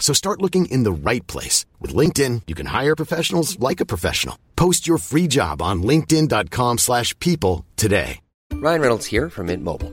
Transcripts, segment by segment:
So start looking in the right place. With LinkedIn, you can hire professionals like a professional. Post your free job on linkedin.com slash people today. Ryan Reynolds here from Mint Mobile.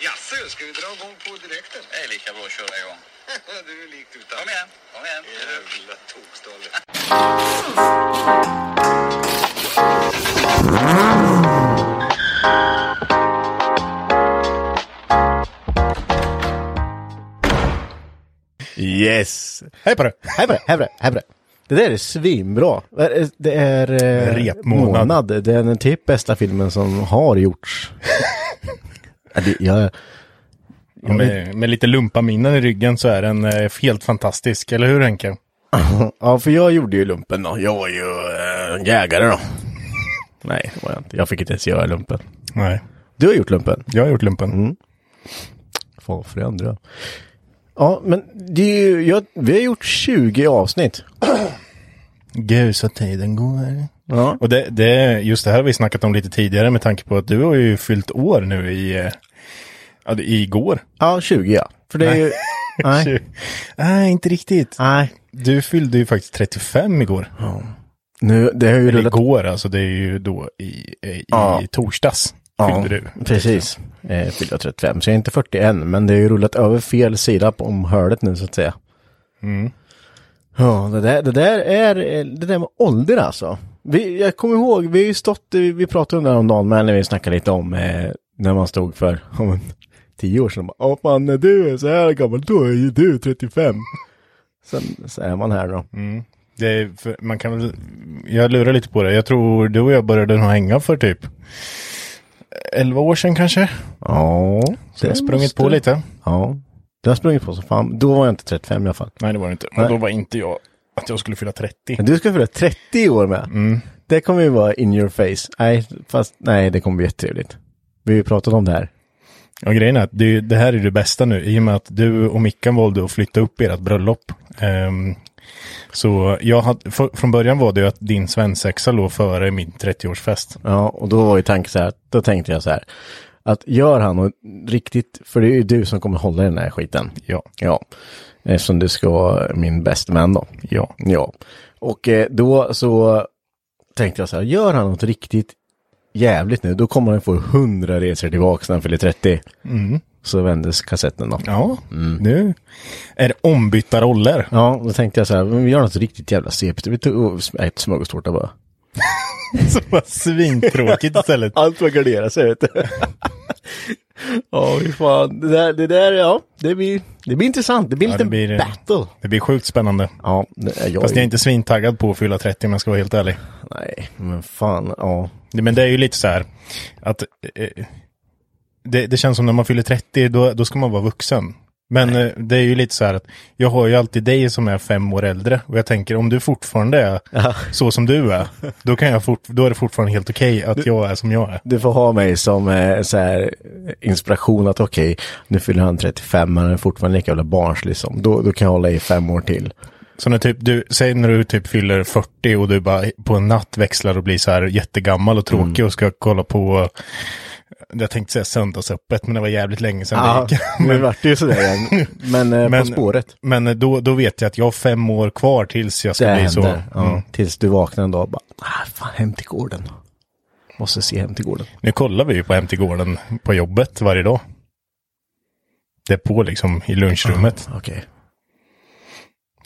Jaså, ska vi dra igång på direkt? Det är lika bra att köra igång. du är likt utan. Kom igen, kom igen. Jävla tokstolle. Yes! Hej på det! Hej på det! Hej på det! Hej på det! Det där är svinbra. Det är- Det är... eh, Repmånad. Det är den typ bästa filmen som har gjorts. Ja, det- jag, Och Med, med lite lumpaminnen i ryggen så är den eh, helt fantastisk, eller hur Henke? ja, för jag gjorde ju lumpen då. Jag var ju eh, jägare då. Nej, det var jag inte. Jag fick inte ens göra lumpen. Nej. Du har gjort lumpen? Jag har gjort lumpen. Mm. Fan för det andra. Ja, men det är ju, jag, vi har gjort 20 avsnitt. Gud så tiden går. Ja. Och det, det, just det här har vi snackat om lite tidigare med tanke på att du har ju fyllt år nu i, eh, ja, det- igår. Ja, 20 ja. För det är ju... Nej. Tju- Nej, inte riktigt. Nej. Du fyllde ju faktiskt 35 igår. Nu, det har ju Eller rullat igår alltså, det är ju då i, eh, i Ja. torsdags. Ja, Fyllde du. precis. Eh, fyllde jag 35, så jag är inte 40 än, men det är ju rullat över fel sida på omhördet nu så att säga. Mm. Ja, det där, det där är eh, det där med ålder alltså. Vi, jag kommer ihåg, vi har ju stått, vi vi pratade om det här om dagen med när vi snackade lite om eh, när man stod för om en, tio år sedan. Bara, Åh fan, när du är så här gammal, då är ju du 35. Sen så är man här då. Det är, för, man kan väl, jag lurar lite på det. Jag tror du och jag började nog hänga för typ 11 år sedan kanske. Ja, Så jag har sprungit måste- på lite. Ja, det har sprungit på så fan. Då var jag inte 35 i alla fall. Nej, det var det inte. Nej. Och då var inte jag att jag skulle fylla 30. Men Du ska fylla 30 år med. Mm. Det kommer ju vara in your face. Nej, fast nej, det kommer bli jättetrevligt. Vi har ju pratat om det här. Och grejen är att det, är ju- det här är det bästa nu. I och med att du och Mickan valde att flytta upp ert bröllop. Ehm, så jag hade, för, från början var det ju att din svensexa låg före min 30-årsfest. Ja, och då var ju tanken så här, då tänkte jag så här, att gör han något riktigt, för det är ju du som kommer hålla i den här skiten. Ja. Ja, eftersom du ska vara min bästa man då. Ja. Ja, och eh, då så tänkte jag så här, gör han något riktigt jävligt nu, då kommer han få 100 resor tillbaka när han fyller 30. Så vändes kassetten då. Mm. Ja, nu är det ombytta roller. Ja, då tänkte jag så här, men vi gör något riktigt jävla sepigt. Vi tog ett smörgåstårta bara. Som var svintråkigt istället. Allt var garderat sig, vet du. Ja, fy fan. Det där, det där, ja, det blir, det blir intressant. Det blir Ja, lite det blir- battle. Det blir sjukt spännande. Ja, det är jag. Fast jag är inte svintaggad på att fylla 30 om jag ska vara helt ärlig. Nej, men fan, ja. Det- Men det är ju lite så här att eh, det, det känns som när man fyller 30 då, då ska man vara vuxen. Men eh, det är ju lite så här att jag har ju alltid dig som är fem år äldre och jag tänker om du fortfarande är så som du är, då, kan jag fort, då är det fortfarande helt okej att jag är som jag är. Du får ha mig som eh, så här, inspiration att okej, nu fyller han 35, men han är fortfarande lika jävla barnslig som. Då, då kan jag hålla i fem år till. Så när typ du, säg när du typ fyller 40 och du bara på en natt växlar och blir så här jättegammal och tråkig Mm. och ska kolla på, jag tänkte säga söndagsöppet, men det var jävligt länge sedan Ja, det gick. nu vart det ju sådär igen. Men, eh, Men- På spåret. Men då, då vet jag att jag har fem år kvar tills jag ska Det bli händer. så. Ja, Mm. Tills du vaknar en dag och bara, ah, fan hem till gården. Måste se hem till gården. Nu kollar vi ju på Hem till gården på jobbet varje dag. Det är på liksom i lunchrummet. Okej.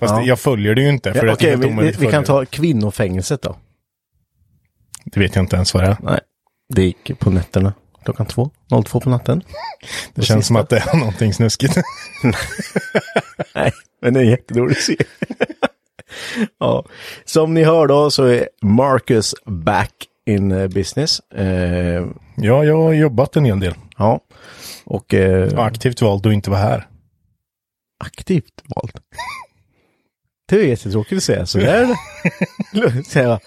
Fast Ja. jag följer det ju inte. För Ja, att det är okej, helt vi, vi, omöjligt att vi kan följa. ta kvinnofängelset då. Det vet jag inte ens vad det är. Nej. Det gick på nätterna. Klockan två. 02 på natten. Det känns som att det är någonting snuskigt. Nej, men det är jättedålig serie. ja. Som ni hör då så är Marcus back in eh, business. Eh, ja, jag har jobbat en hel del. ja. Och eh, Jag har aktivt valt att inte vara här. aktivt valt. Det är jättetråkigt att säga sådär. säga,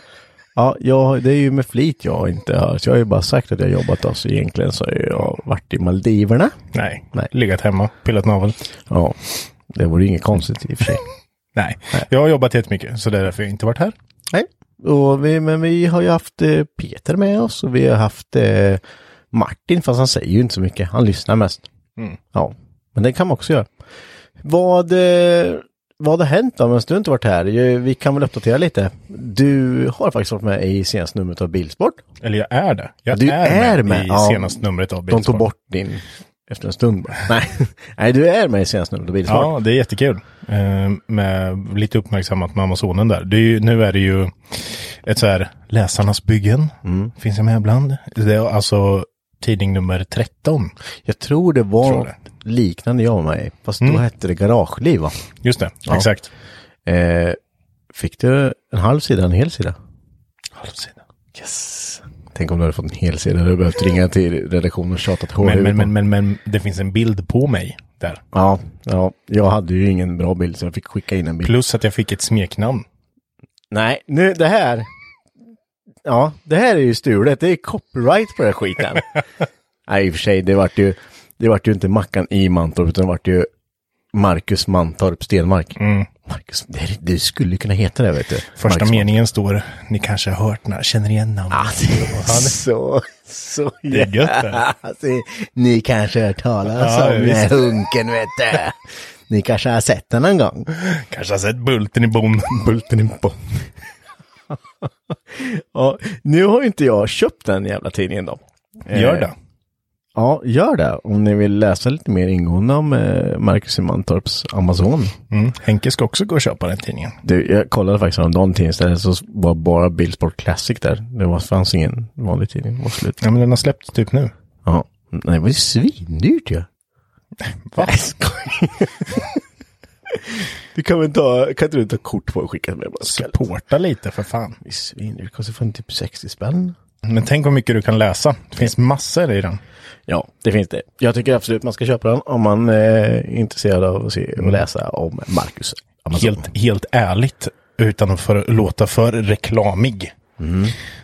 ja, jag, det är ju med flit jag inte har. Så jag har ju bara sagt att jag har jobbat. Alltså egentligen så har jag varit i Maldiverna. Nej. Nej. legat hemma, pillat navel. Ja, det vore ju inget konstigt i och för sig. Nej. jag har jobbat jättemycket så det är därför jag inte varit här. Nej, och vi, men vi har ju haft eh, Peter med oss och vi har haft eh, Martin, fast han säger ju inte så mycket. Han lyssnar mest. Mm. Ja, men det kan man också göra. Vad, eh, vad har hänt då, medan du inte varit här? Ju, Vi kan väl uppdatera lite. Du har faktiskt varit med i senaste numret av Bilsport. Eller jag är det. Jag Du är med, i ja. senaste numret av De Bilsport. tog bort din efter en stund bara. Nej. Nej, du är med i senaste numret av Bilsport. Ja, det är jättekul. Eh, med lite uppmärksammat med Amazonen där. Det är ju, nu är det ju ett så här läsarnas byggen. Mm. Finns jag med ibland. Det är alltså tidning nummer 13. Jag tror det var Tror Mm. något liknande jag var med i. Fast då hette det Garageliv va? Just det, Ja. exakt. Eh, fick du en halv sida, en hel sida? Halvsida. Yes. Tänk om du hade fått en hel sida. Du hade behövt ringa till redaktionen och tjatat hål Men, ut men, dem. men, men, men det finns en bild på mig där. Ja, ja, jag hade ju ingen bra bild så jag fick skicka in en bild. Plus att jag fick ett smeknamn. Nej, nu det här. Ja, det här är ju stulet. Det är copyright på den här skiten. Nej, i och för sig, det vart ju, det vart ju inte Mackan i Mantorp utan det vart ju Marcus Mantorp Stenmark. Marcus, det, är- det skulle ju kunna heta det, vet du. Mm. Första Marcus meningen står, ni kanske har hört, när, känner igen namnet. Ah, det är så, så Det är gött det. Alltså, ni kanske har hört talas Ja, om den här hunken, vet du. Ni kanske har sett den någon gång. Kanske har sett Bulten i bon. Bulten i bon. Ja, nu har ju inte jag köpt den jävla tidningen då. Eh, Gör det. Ja, gör det. Om ni vill läsa lite mer ingående om eh, Marcus i Mantorps Amazon. Mm. Henke ska också gå och köpa den tidningen. Du, jag kollade faktiskt häromdagen tidningsstället så var bara Billsport Classic där. Det var, fanns ingen vanlig tidning. Det var slut. Ja, men den har släppts typ nu. Ja. Nej, det var ju svindyrt ju. Va? Nej, skoj. Du kan väl ta, kan inte du ta kort på och skicka till mig? bara? Supporta lite för fan. Det är svindyrt. Det kostar fan typ 60 spänn. Men tänk hur mycket du kan läsa. Det finns massor i den. Ja, det finns det. Jag tycker absolut man ska köpa den om man eh, är intresserad av att se och läsa om Marcus. Amazon. Helt, helt ärligt, utan att för, låta för reklamig, Mm.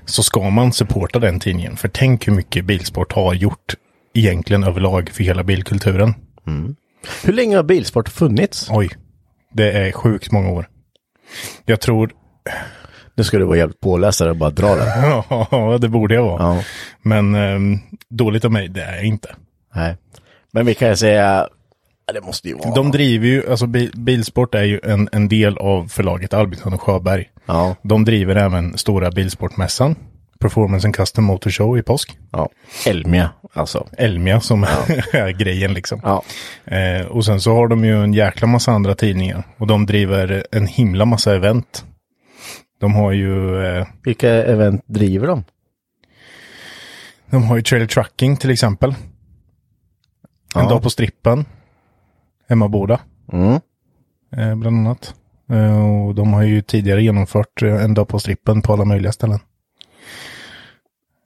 så ska man supporta den tidningen. För tänk hur mycket Bilsport har gjort egentligen överlag för hela bilkulturen. Mm. Hur länge har Bilsport funnits? Oj, det är sjukt många år. Jag tror, Nu ska du vara jävligt påläsare och bara dra den. ja, det borde jag vara. Ja. Men ehm, dåligt av mig, det är jag inte. Nej. Men vi kan ju säga, ja, det måste ju vara. De driver ju, alltså Bi- Bilsport är ju en, en del av förlaget Albinsson och Sjöberg. Ja. De driver även stora Bilsportmässan, Performance and Custom Motor Show i påsk. ja. Elmia, alltså. Elmia som är grejen liksom. Ja. Eh, och sen så har de ju en jäkla massa andra tidningar. Och de driver en himla massa event. De har ju, eh, Vilka event driver de? de har ju Trailer Trucking till exempel. En dag på strippen. Emmaboda. Eh, bland annat. Eh, och de har ju tidigare genomfört eh, en dag på strippen på alla möjliga ställen.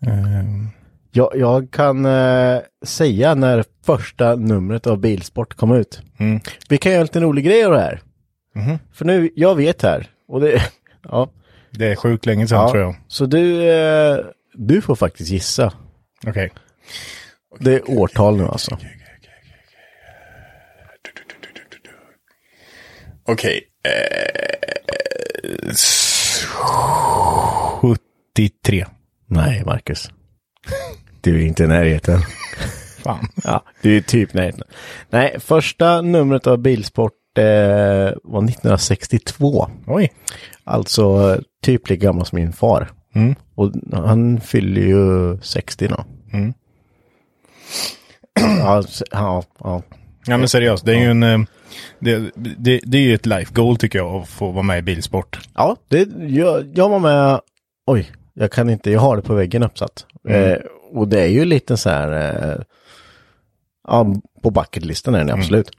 Eh, Jag, jag kan eh, säga när första numret av Bilsport kom ut. Vi kan göra en liten rolig grej av det här. För nu, jag vet här. Och det, ja, Det är sjukt länge sedan ja. tror jag. Så du, eh, du får faktiskt gissa. Okej. Det är årtal nu alltså. Okej. 73. Nej, Marcus. Du är inte i närheten. Fan. Ja, du är typ i närheten. Nej, första numret av Bilsport eh, var 1962. Oj. Alltså eh, typ lika gammal som min far. Och han fyller ju 60 nu. ja, s- ja, ja. Ja men seriöst, det är ju en... eh, Det, det, det är ju ett life goal tycker jag att få vara med i Bilsport. Ja, det, jag, jag var med. Oj, jag kan inte. Jag har det på väggen uppsatt. Eh, och det är ju lite så här. Eh, ja, på bucketlistan är den absolut.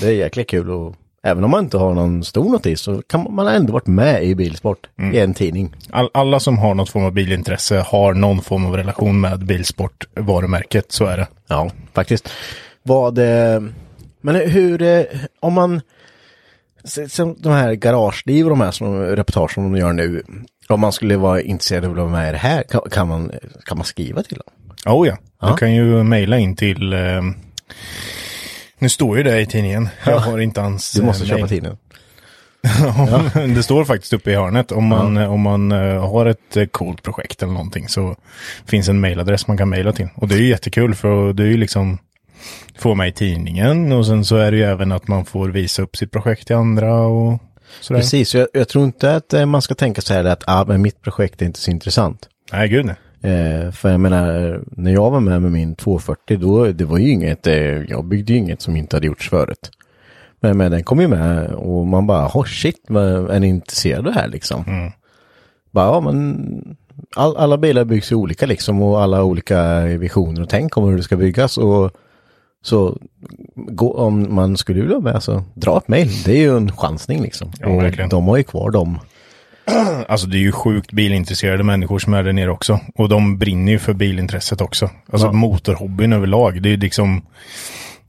Det är jäkligt kul och även om man inte har någon stor notis så kan man, man har ändå varit med i Bilsport i en tidning. All, alla som har något form av bilintresse har någon form av relation med Bilsport-varumärket, så är det. Ja, faktiskt. Vad, eh, men hur, eh, om man, se- som de här garageliv och de här som, reportage som de gör nu, om man skulle vara intresserad av att vara med i det här, kan, kan, man, kan man skriva till dem? Oh, ja, du kan ju mejla in till... Eh, nu står ju det i tidningen. Jag har inte hans Du måste eh, köpa mejl. tidningen. Ja, det står faktiskt uppe i hörnet. Om man, om man eh, har ett eh, coolt projekt eller någonting så finns en mailadress man kan mejla till. Och det är ju jättekul för det är ju liksom få med i tidningen och sen så är det ju även att man får visa upp sitt projekt till andra och sådär. Precis, jag, jag tror inte att eh, man ska tänka så här att ah, men mitt projekt är inte så intressant. Nej, gud nej. Eh, för jag menar, när jag var med med min 240, då, det var ju inget, eh, jag byggde ju inget som inte hade gjorts förut. Men, men den kom ju med och man bara, oh shit, vad- är ni intresserade av det här liksom? Mm. Bara, ja men, all, alla bilar byggs ju olika liksom och alla har olika visioner och tänk om hur det ska byggas och så gå, om man skulle vilja vara med så dra ett mejl, det är ju en chansning liksom. Ja, verkligen. och de har ju kvar dem. Alltså det är ju sjukt bilintresserade människor som är där nere också. Och de brinner ju för bilintresset också. Alltså motorhobbyn överlag. Det är ju liksom,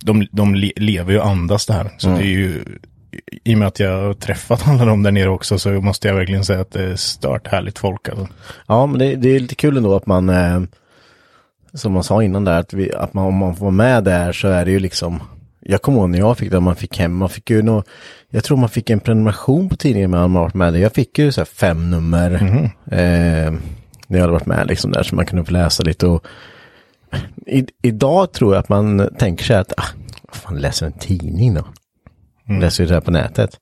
de, de le- lever ju och andas det här. Så det är ju, i och med att jag har träffat alla de där nere också så måste jag verkligen säga att det är stört härligt folk. Alltså. Ja, men det, det är lite kul ändå att man, eh, som man sa innan där, att, vi, att man, om man får vara med där så är det ju liksom, jag kommer ihåg när jag fick det, man fick hem, man fick ju nå, jag tror man fick en prenumeration på tidningen när man varit med där. Jag fick ju så här fem nummer eh, när jag hade varit med liksom där så man kunde få läsa lite och i, idag tror jag att man tänker sig att, ah, vad fan läser en tidning då? Läser ju det här på nätet.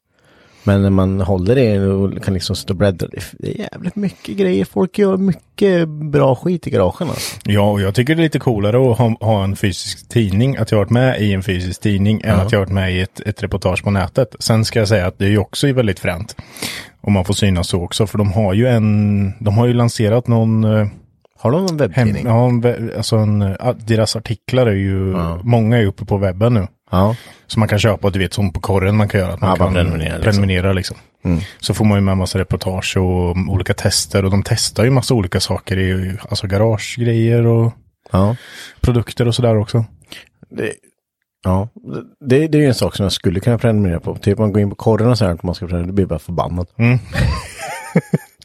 Men när man håller det och kan liksom stå och bläddra, det är jävligt mycket grejer. Folk gör mycket bra skit i garagen alltså. Ja, och jag tycker det är lite coolare att ha, ha en fysisk tidning, att jag har varit med i en fysisk tidning, än att jag har varit med i ett, ett reportage på nätet. Sen ska jag säga att det är ju också väldigt fränt. Om man får synas så också, för de har ju en, de har ju lanserat någon eh, Har de någon Hem, webbtidning? ja, en we- alltså en, eh, deras artiklar är ju, många är ju uppe på webben nu. Ja. Så man kan köpa, du vet som på korren man kan göra, att man Ja, bara kan prenumerera, liksom. Mm. prenumerera, liksom. Så får man ju med massa reportage och mm, olika tester och de testar ju massa olika saker, i, ju- alltså garagegrejer och Ja. produkter och sådär också. Det, ja. Det, det är ju en sak som jag skulle kunna prenumerera på. Typ man går in på korren och säger att man ska prenumerera, då blir jag bara förbannad. Mm.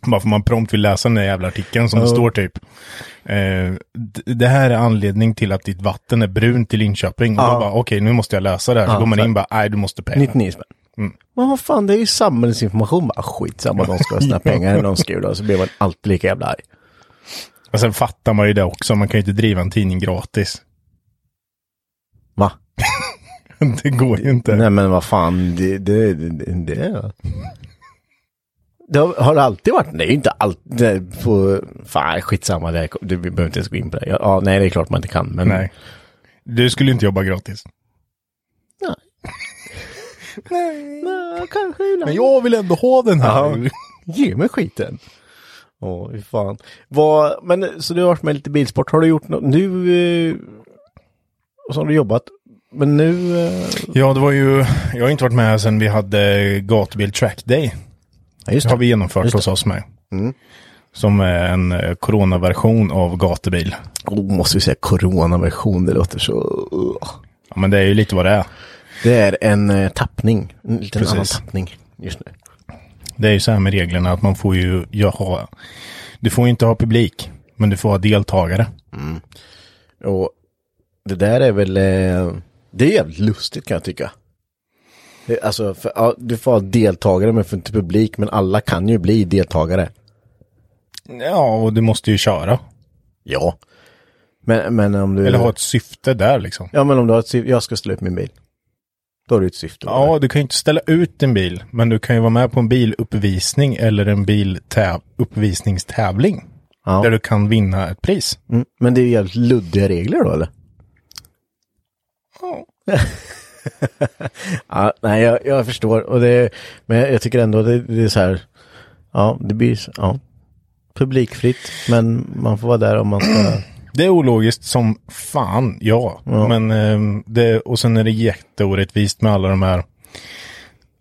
Bara för man prompt vill läsa den där jävla artikeln som det Ja. står typ. Eh, d- det här är anledning till att ditt vatten är brunt i Linköping. Och då bara okej, nu måste jag läsa det här. Så går man in och bara, nej du måste pengar. 99 spänn. Mm. Men vad fan, det är ju samhällsinformation. Bara skitsamma, de ska ha sina pengar när de skriver det. Så blir man alltid lika jävla arg. Men sen fattar man ju det också, man kan ju inte driva en tidning gratis. Va? Det går ju inte. Nej men vad fan, det, det, det, det. det har, har det alltid varit, det är ju inte alltid på, fan skitsamma, det, här- det, vi behöver inte ens gå in på det. Ja, Ja, nej det är klart man inte kan, men Nej. Du skulle inte jobba gratis. Nej, kanske ibland. Men jag vill ändå ha den här. Ja. Ge mig skiten. Åh, fy fan. Vad, men så du har varit med lite bilsport, har du gjort något nu? Eh, och så har du jobbat, men nu? Eh, Ja, det var ju, jag har inte varit med sedan vi hade Gatubil Track Day. ja, just Det Mm. har vi genomfört hos oss med. Som är en eh, coronaversion av gatubil. Oh, måste vi säga coronaversion, det låter så... uh. Ugh. Ja, men det är ju lite vad det är. Det är en eh, tappning, en liten Precis. annan tappning just nu. Det är ju så här med reglerna att man får ju ja, ha, du får ju inte ha publik, men du får ha deltagare. Och det där är väl, eh, det är jävligt lustigt kan jag tycka. Det- Alltså, för, ja, du får ha deltagare men får inte publik, men alla kan ju bli deltagare. Ja, och du måste ju köra. Ja. Men, men om du... Eller ha ett syfte där liksom. Ja, men om du har ett syfte, jag ska slå ut min bil. Då har du ett syfte. Ja, du kan ju inte ställa ut en bil, men du kan ju vara med på en biluppvisning eller en biluppvisningstävling. Ja. Där du kan vinna ett pris. Mm. Men det är ju jävligt luddiga regler då, eller? ja, nej, jag, jag förstår. Och det, men jag, jag tycker ändå det, det är så här. Ja, det blir så- ja, publikfritt. Men man får vara där om man ska. Det är ologiskt som fan, ja. Men, ehm, det, och sen är det jätteorättvist med alla de här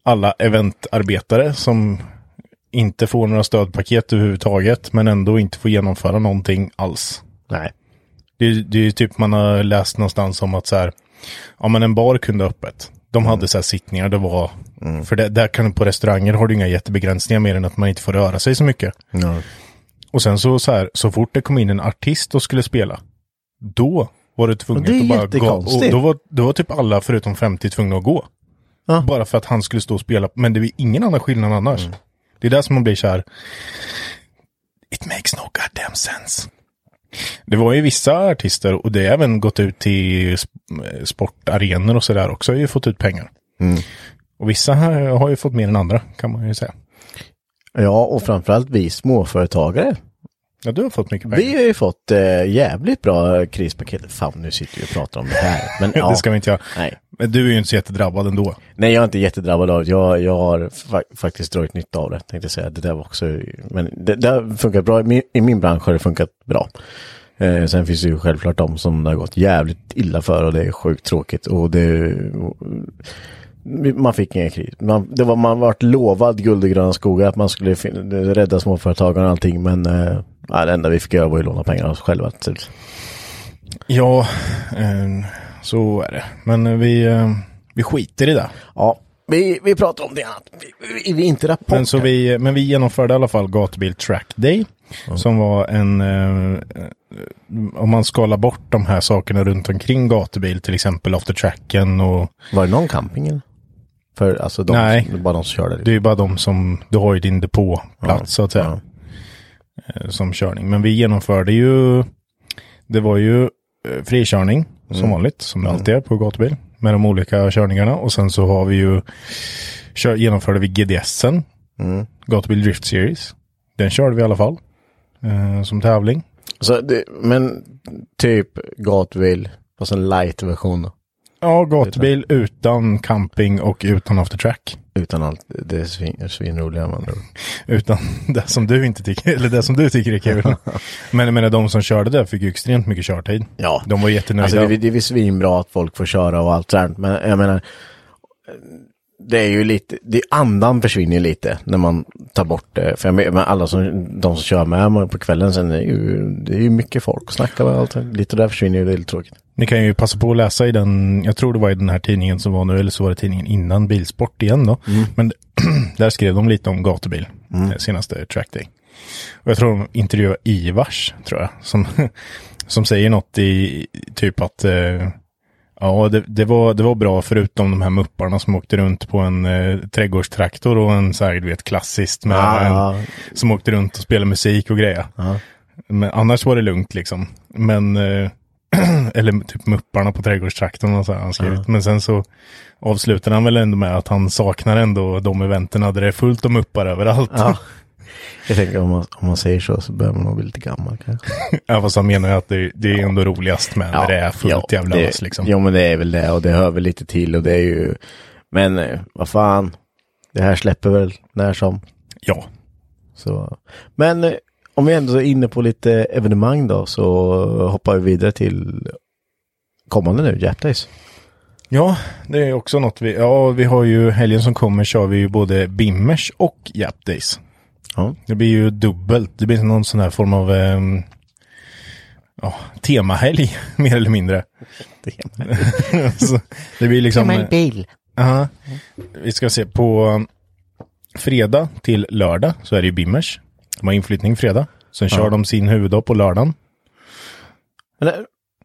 alla eventarbetare som inte får några stödpaket överhuvudtaget men ändå inte får genomföra någonting alls. nej. Det, är- det är ju typ man har läst någonstans om att så här, ja men en bar kunde ha öppet. De hade så här sittningar, det var, för det, där kan du på restauranger har du inga jättebegränsningar mer än att man inte får röra sig så mycket. Och sen så, så här, så fort det kom in en artist och skulle spela, då var det Och det är tvunget att bara gå. Och jättekonstigt. då var, då var typ alla förutom 50 tvungna att gå. Ja. Mm. Bara för att han skulle stå och spela, men det är ingen annan skillnad annars. Det är där som man blir så här, it makes no goddamn sense. Det var ju vissa artister och det har även gått ut till sp- sportarenor och sådär också, har ju fått ut pengar. Mm. Och vissa här har ju fått mer än andra kan man ju säga. Ja, och framförallt vi småföretagare. Ja, du har fått mycket pengar. Vi har ju fått eh, jävligt bra krispaket. Fan, nu sitter vi och pratar om det här. Men, ja. Det ska vi inte göra. Nej. Men du är ju inte så jättedrabbad ändå. Nej, jag är inte jättedrabbad av det. Jag, jag har fa- faktiskt dragit nytta av det, tänkte jag säga. Det där var också, men det, det har funkat bra. I min, I min bransch har det funkat bra. Eh, sen finns det ju självklart de som det har gått jävligt illa för och det är sjukt tråkigt. Och det, och, man fick ingen kris. Man, det var, man vart lovad guld och gröna skogar att man skulle fin- rädda småföretagen och allting. Men eh, ja, det enda vi fick göra var ju låna pengar av oss själva. Typ. Ja, eh, så är det. Men eh, vi, eh, vi skiter i det. Ja, vi, vi pratar om det annat. Vi, vi, vi är inte rapporter. Men, så vi, eh, men vi genomförde i alla fall Gatubil Track Day. Som var en, eh, eh, om man skalar bort de här sakerna runt omkring gatubil, till exempel after tracken och Var det någon camping eller? För alltså de, Nej. bara de som körde. det är Liksom. ju bara de som, du har ju din depåplats så att säga. eh, Som körning. Men vi genomförde ju, det var ju eh, frikörning som vanligt, som det alltid är på gatubil. Med de olika körningarna och sen så har vi ju, kör, genomförde vi GDSen, mm. Gatubil Drift Series. Den körde vi i alla fall. Eh, som tävling. Så det, men typ Gatvill, fast en light-version då, Ja, gatubil utan camping och utan after track. Utan allt det svin, svinroliga man tror. Utan det som du inte tycker, eller det som du tycker är kul. Men jag menar, de som körde det fick ju extremt mycket körtid. Ja. De var jättenöjda. Alltså det, det är väl svinbra att folk får köra och allt sånt. Men jag menar, det är ju lite, det, andan försvinner ju lite när man tar bort det. För jag menar, men alla som, de som kör med mig på kvällen sen, är ju, det är ju mycket folk att snacka med och allt. sånt. Lite där försvinner ju, det är lite tråkigt. Ni kan ju passa på att läsa i den, jag tror det var i den här tidningen som var nu, eller så var det tidningen innan Bilsport igen då. Mm. Men där skrev de lite om gatubil, eh, senaste trackday. Och jag tror de intervjuade Ivars, tror jag, som, som säger något i typ att eh, ja, det, det, var, det var bra förutom de här mupparna som åkte runt på en eh, trädgårdstraktor och en så här, du vet, klassiskt med Ja, en, ja. som åkte runt och spelade musik och grejer. Men annars var det lugnt liksom. Men, eh, eller typ mupparna på trädgårdstraktorn och så här, han skrivit. Men sen så avslutar han väl ändå med att han saknar ändå de eventen där det är fullt av muppar överallt. Ja. Jag tänker om man, om man säger så så börjar man nog bli lite gammal kanske. fast han menar ju att det, det är ändå roligast med när det är fullt jävla det, ös liksom. Ja, men det är väl det och det hör väl lite till och det är ju, men eh, vad fan, det här släpper väl när som. Ja. Så. Men eh, om vi ändå är inne på lite evenemang då så hoppar vi vidare till kommande nu, Jap Days. Ja, det är också något vi, ja vi har ju helgen som kommer kör vi ju både Bimmers och Jap Days. Ja. Det blir ju dubbelt, det blir någon sån här form av ehm, ja, temahelg mer eller mindre. så det blir liksom... bil. Ja. Vi ska se på um, fredag till lördag så är det ju Bimmers. De har inflyttning fredag. Sen kör de sin huvuddag på lördagen.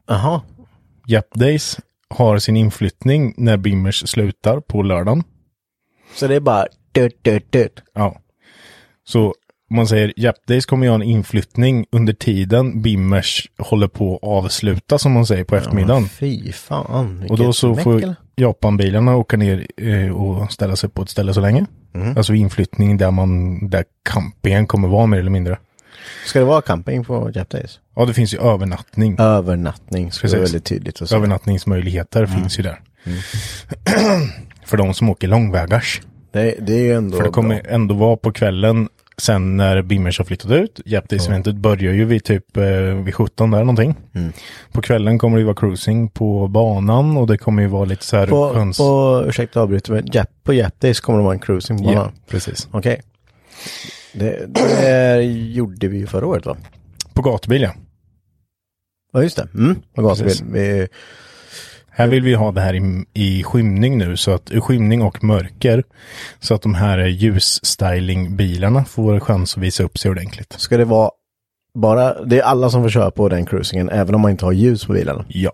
Jaha, Jap Days har sin inflyttning när Bimmers slutar på lördagen. Så det är bara dut, dut, dut. Ja. Så om man säger Jap Days kommer jag ha en inflyttning under tiden Bimmers håller på att avsluta som man säger på eftermiddagen. Fy fan. och då vilket så smäck, får eller? Japanbilarna åka ner eh, och ställa sig på ett ställe så länge. Mm. Alltså inflyttning där man, där campingen kommer vara mer eller mindre. Ska det vara camping på Jap Days? Ja, det finns ju övernattning. Övernattning, så det är Precis. väldigt tydligt. Och så. Mm. Övernattningsmöjligheter finns ju där. För de som åker långvägars. Det, det är ju ändå För det bra. kommer ändå vara på kvällen sen när Bimmers har flyttat ut. Japtis-eventet börjar ju vid typ eh, vid 17 där någonting. Mm. På kvällen kommer det ju vara cruising på banan och det kommer ju vara lite så här På, sköns- på, ursäkta avbryter, men Jap, på Jap Days kommer det vara en cruising på ja, banan. precis. Okej. Det, det gjorde vi ju förra året va? På gatubil ja. Ja just det. Mm. Och Precis. gasbil. Vi, Här vill vi ha det här i, i skymning nu, så att i skymning och mörker. Så att de här eh, ljusstylingbilarna får chans att visa upp sig ordentligt. ska det vara bara, det är alla som får köra på den cruisingen, även om man inte har ljus på bilen. Ja.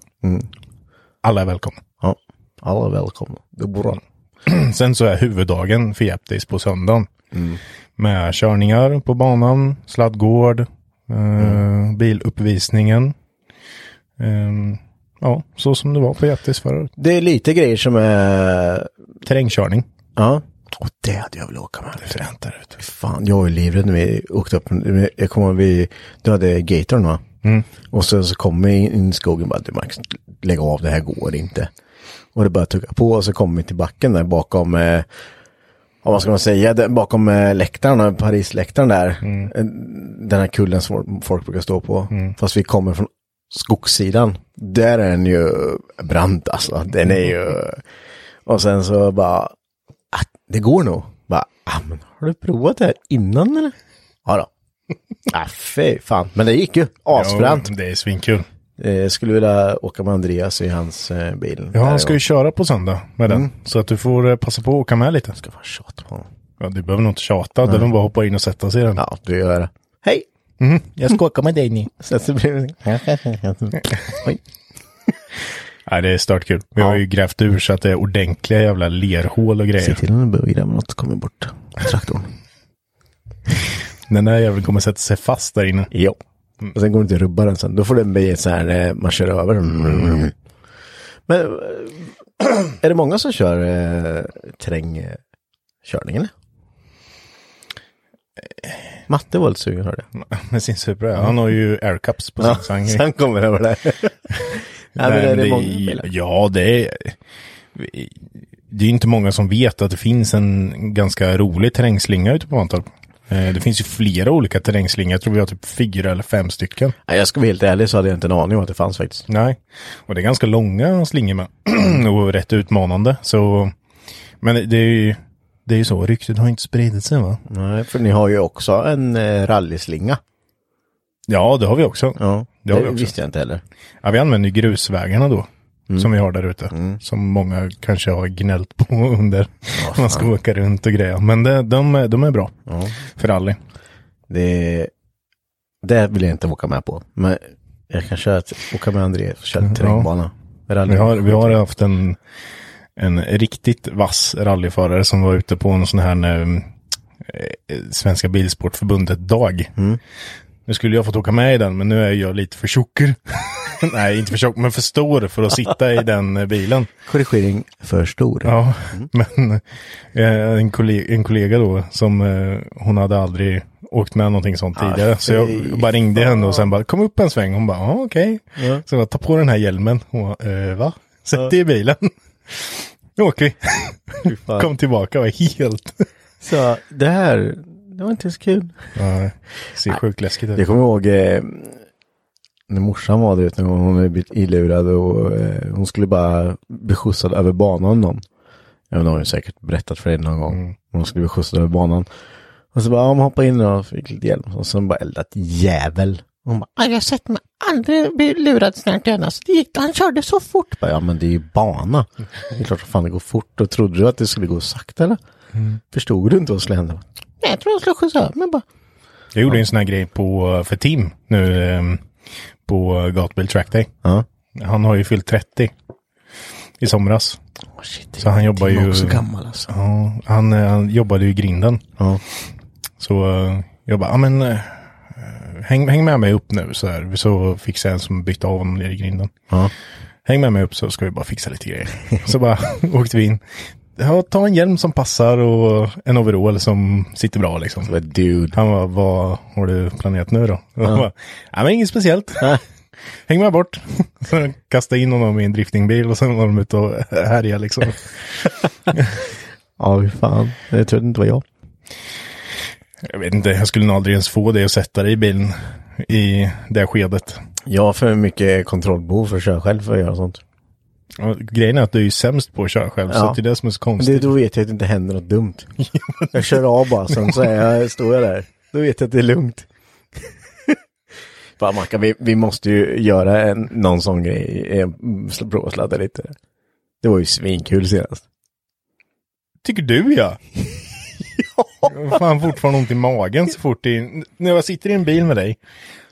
Alla är välkomna. Ja. Alla är välkomna. Det är bra. Sen så är huvuddagen för Japtis på söndagen. Med körningar på banan, sladdgård, eh, biluppvisningen. Ehm, ja, så som det var på Japtis förra året. Det är lite grejer som är, Terrängkörning. ja. Och det hade jag velat åka med. Det är fränt där ute. Fan, jag är livrädd när vi åkte upp. Jag kommer ihåg vi, du hade gatorn va? Mm. Och sen så kom vi in i skogen och bara, du Max, lägg av, det här går inte. Och det började tugga på och så kom vi till backen där bakom, eh, ja, vad ska man säga, där, bakom eh, läktaren, Parisläktaren där. Eh, Den här kullen som folk brukar stå på. Fast vi kommer från skogssidan. Där är den ju brant alltså. Den är ju... Och sen så bara, ah, det går nog. Bara, ah, men har du provat det här innan eller? Ja då. ah, fy fan. Men det gick ju. Asfränt. Ja, det är svinkul. Eh, Jag skulle vilja åka med Andreas i hans eh, bil. Ja, Där han ska ju jag- köra på söndag med den. Så att du får eh, passa på att åka med lite. ska fan tjata på honom. Ja, du behöver nog inte tjata. Det är väl bara att hoppa in och sätta sig i den. Ja, du gör det. Hej! Jag ska åka med dig ni. Sen så blir det... Oj. Nej, det är stört kul. Vi har ju grävt ur så att det är ordentliga jävla lerhål och Se grejer. till när du börjar gräva något så kommer bort traktorn. Den där jäveln kommer sätta sig fast där inne. Jo. Och sen går det inte att rubba den sen. Då får den bli ett så här, eh, man kör över den. Men eh, är det många som kör eh, terrängkörning eller? Eh. Matte var lite sugen hörde jag. Med sin Supra. Han har ju aircups på sin. Mm. så han- Sen kommer det över där. Nej, men Nej, är men det det- många bilar? Ja, det är... Det är ju inte många som vet att det finns en ganska rolig terrängslinga ute på Mantorp. Eh, Det finns ju flera olika terrängslingor. Jag tror vi har typ fyra eller fem stycken. Nej, jag ska vara helt ärlig så hade jag inte en aning om att det fanns faktiskt. Nej, och det är ganska långa slingor med. och rätt utmanande. Så... Men det- det är ju, det är ju så, ryktet har inte spridit sig va? Nej, för ni har ju också en eh, rallyslinga. Ja, det har vi också. Ja, det har vi det också. visste jag inte heller. Ja, vi använder ju grusvägarna då. Som vi har där ute. Som många kanske har gnällt på under. man ska åka runt och greja. Men det, de, är- de är bra. För rally. Det, det vill jag inte åka med på. Men jag kan köra, ett- åka med André och köra Mm, terrängbana. Rally. Vi har, vi har haft en, en riktigt vass rallyförare som var ute på en sån här eh, eh, Svenska Bilsportförbundet-dag. Nu skulle jag fått åka med i den, men nu är jag lite för tjocker. Nej, inte för tjock, men för stor för att sitta i den eh, bilen. Korrigering för stor. Ja, men eh, en, kollega, en kollega då som eh, hon hade aldrig åkt med någonting sånt tidigare. Så jag fy bara ringde henne och sen bara kom upp en sväng. Hon bara, ja okej. Så jag bara, ta på den här hjälmen. Hon bara, eh, va? Sätt dig i bilen. Nu åker vi. fan. Kom tillbaka och var helt... Så det här, det var inte så kul. Ja, ser sjukt läskigt Jag ut. kommer ihåg eh, när morsan var där ute, när hon hade blivit ilurad och eh, hon skulle bara bli skjutsad över banan av någon. Jag vet inte, har jag säkert berättat för dig någon gång. Hon skulle bli skjutsad över banan. Och så bara, ja, men hoppa in och fick lite hjälp. Och sen bara eldat jävel. Hon bara, "Aj, jag har sett mig aldrig bli lurad snart igen. Alltså, det gick, han körde så fort. Bara, ja men det är ju bana. Det är klart som fan det går fort. Och trodde du att det skulle gå sakta eller? Förstod du inte vad som skulle hända? Nej, jag tror han skulle skjutsa över mig bara. Jag gjorde ju en sån här grej på, för Tim nu eh, på Gatbil Track Day. Ja. Han har ju fyllt 30 i somras. Åh, shit, Så han jobbar Tim är ju- också gammal alltså. Ja, han, eh, han jobbade ju i grinden. Ja. Så eh, jag bara, ja men eh, häng, häng med mig upp nu så här. Så fixar jag en som bytte av honom nere i grinden. Ja. Häng med mig upp så ska vi bara fixa lite grejer. Så bara åkte vi in. Ja, ta en hjälm som passar och en overall som sitter bra liksom. Men dude. Han var, vad har du planerat nu då? Och jag bara, Nej men inget speciellt. Häng med bort. Så de kastade in honom i en driftingbil och sen var de ute och härjade liksom. Ja, fy fan. Det trodde inte var jag. Jag vet inte, jag skulle nog aldrig ens få det att sätta dig i bilen i det skedet. Jag har för mycket kontrollbehov för att köra själv för att göra sånt. Och grejen är att du är ju sämst på att köra själv, så Ja. att det är det som är så Men det, konstigt. då vet jag att det inte händer något dumt. Jag kör av bara, sen så är jag, står jag där. Då vet jag att det är lugnt. Fan Mackan, vi, vi måste ju göra en, någon sån grej, eh, sl- prova att sladda lite. Det var ju svinkul senast. Tycker du ja! Jag har fan fortfarande ont i magen så fort det är... När jag sitter i en bil med dig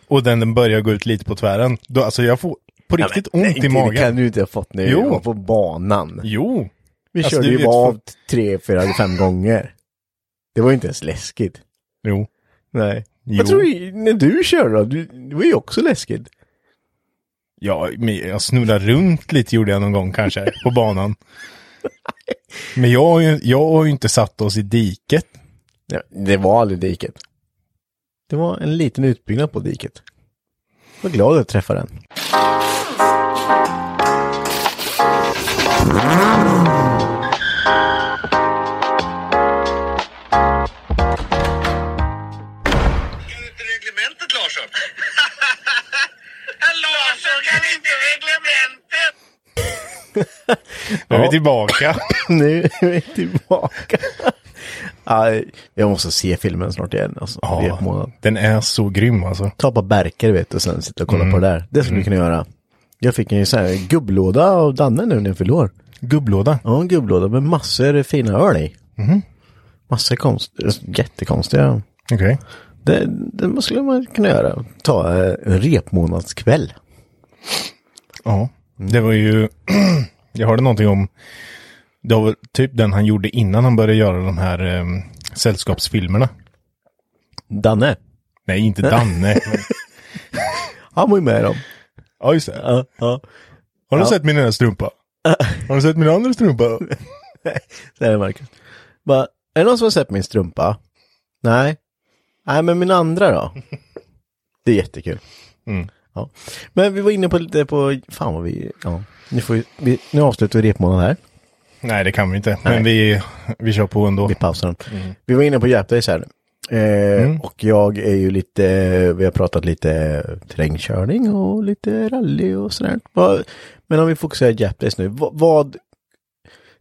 och den, den börjar gå ut lite på tvären, då alltså jag får på riktigt Nej, ont inte- i magen. Det kan du inte ha fått nu. Jo. Jag var på banan. Jo! Vi Alltså, körde du ju vet bara för- av tre, fyra, fem gånger. Det var ju inte ens läskigt. Jo. Nej. Jo. Jag tror ju- när du körde då, du, det var ju också läskigt. Ja, men jag snurrar runt lite gjorde jag någon gång kanske, på banan. Men jag har, ju, jag har ju inte satt oss i diket. Nej, Det var aldrig diket. Det var en liten utbyggnad på diket. Jag var glad att jag träffade den. Kan du inte reglementet Larsson? Larsson kan inte reglementet! Nu är vi Ja. tillbaka. Nu är vi tillbaka. Aj, jag måste se filmen snart igen. Alltså, Det är på månaden. den är så grym alltså. Ta på Berker vet du och sen sitta och kolla på det där. Det skulle du kunna göra. Jag fick en ju så här gubblåda av Danne nu när jag fyllde år. Gubblåda. Ja, en gubblåda med massor fina öl i. Massor konst, jättekonstiga. Okej. Det, det skulle man kunna göra. Ta eh, en repmånadskväll. Ja. Det var ju, jag hörde någonting om, det var väl typ den han gjorde innan han började göra de här eh, sällskapsfilmerna. Danne, Nej, inte Danne. han var ju med i dem. ja, just det. Ja, ja. Har du sett min ena strumpa? Har du sett min andra strumpa? Säger Marcus. Bara, är det någon som har sett min strumpa? Nej. Nej, men min andra då? Det är jättekul. Ja. Men vi var inne på lite på, fan vad vi, ja. Nu, får vi, vi, nu avslutar vi repmånaden här. Nej, det kan vi inte. Men vi, vi kör på ändå. Vi pausar den. Vi var inne på Gap Days här. Eh, Och jag är ju lite, vi har pratat lite terrängkörning och lite rally och sådär. Vad- Men om vi fokuserar Gap Days nu, vad, vad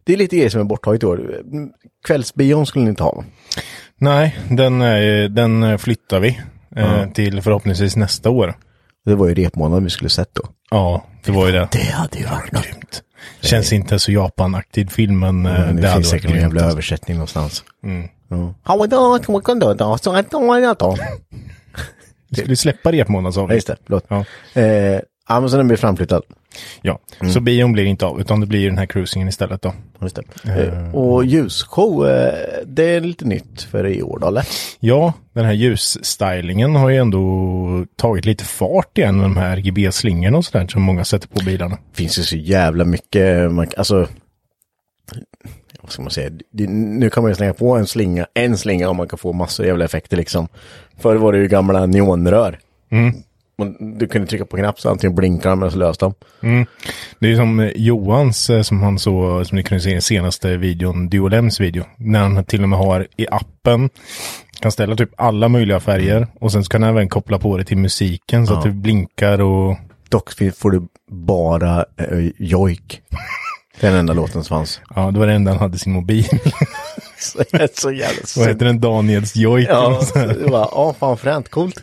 det är lite grejer som är borttaget i år. Kvällsbion skulle ni inte ha. Nej, den, eh, den eh, flyttar vi eh, till förhoppningsvis nästa år. Det var ju repmånaden vi skulle sett då. Ja, det var ju det. Det hade ju varit något. Grymt. Känns inte så Japan-aktiv filmen. eh, Men det, hade finns varit säkert någon grymt. jävla översättning någonstans. alltså. Mm. Ja. Vi skulle släppa repmånads Ja, just det. Förlåt. Ja. Eh, ja, men så den blir framflyttad. Ja, Mm. så bion blir inte av utan det blir den här cruisingen istället då. Just det. Eh, och ljusshow, eh, det är lite nytt för i år då, eller? Ja, den här ljusstylingen har ju ändå tagit lite fart igen med de här RGB-slingorna och sådär som många sätter på bilarna. finns ju så jävla mycket, man, alltså, vad ska man säga, det, nu kan man ju slänga på en slinga, en slinga och man kan få massor av jävla effekter liksom. Förr var det ju gamla neonrör. Mm. Man, du kunde trycka på en knapp så antingen blinkade de eller så löste de. Det är ju som eh, Johans eh, som han så, som ni kunde se i senaste videon, Duolems video. När han till och med har i appen, kan ställa typ alla möjliga Mm. färger och sen så kan han även koppla på det till musiken så att det blinkar och Dock fin- får du bara eh, jojk. Det är den enda låten som fanns. ja, det var det enda han hade i sin mobil. Så, jag är så jävla Vad synd. heter den? Daniels Jojk. Ja, så det var, ja, fan fränt, coolt.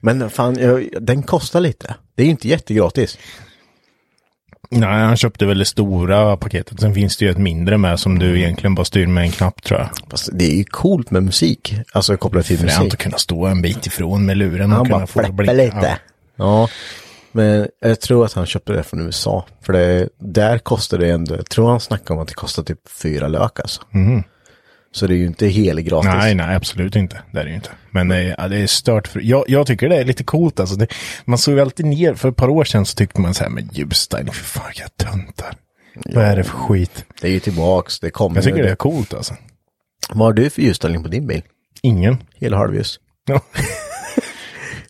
Men fan, jag, den kostar lite. Det är ju inte jättegratis. Nej, han köpte väl det stora paketet. Sen finns det ju ett mindre med som Mm. du egentligen bara styr med en knapp tror jag. Fast det är ju coolt med musik, alltså kopplat till Fränt musik. att kunna stå en bit ifrån med luren och Han kunna bara få det fläpper blinka. lite. Ja. Men jag tror att han köpte det från USA. För det, där kostar det ändå, jag tror han snackade om att det kostar typ fyra lök alltså. Så det är ju inte helgratis. Mhm. Nej, nej, absolut inte. Det är det ju inte. Men eh, ja, det är stört. För, jag, jag tycker det är lite coolt alltså. Det, man såg ju alltid ner. För ett par år sedan så tyckte man så här, men Ljusstein, för fan vilka töntar. Vad är det för skit? Det är ju tillbaks, det kommer. Jag tycker ju. det är coolt alltså. Vad har du för ljusställning på din bil? Ingen. Hel och halvljus. Ja,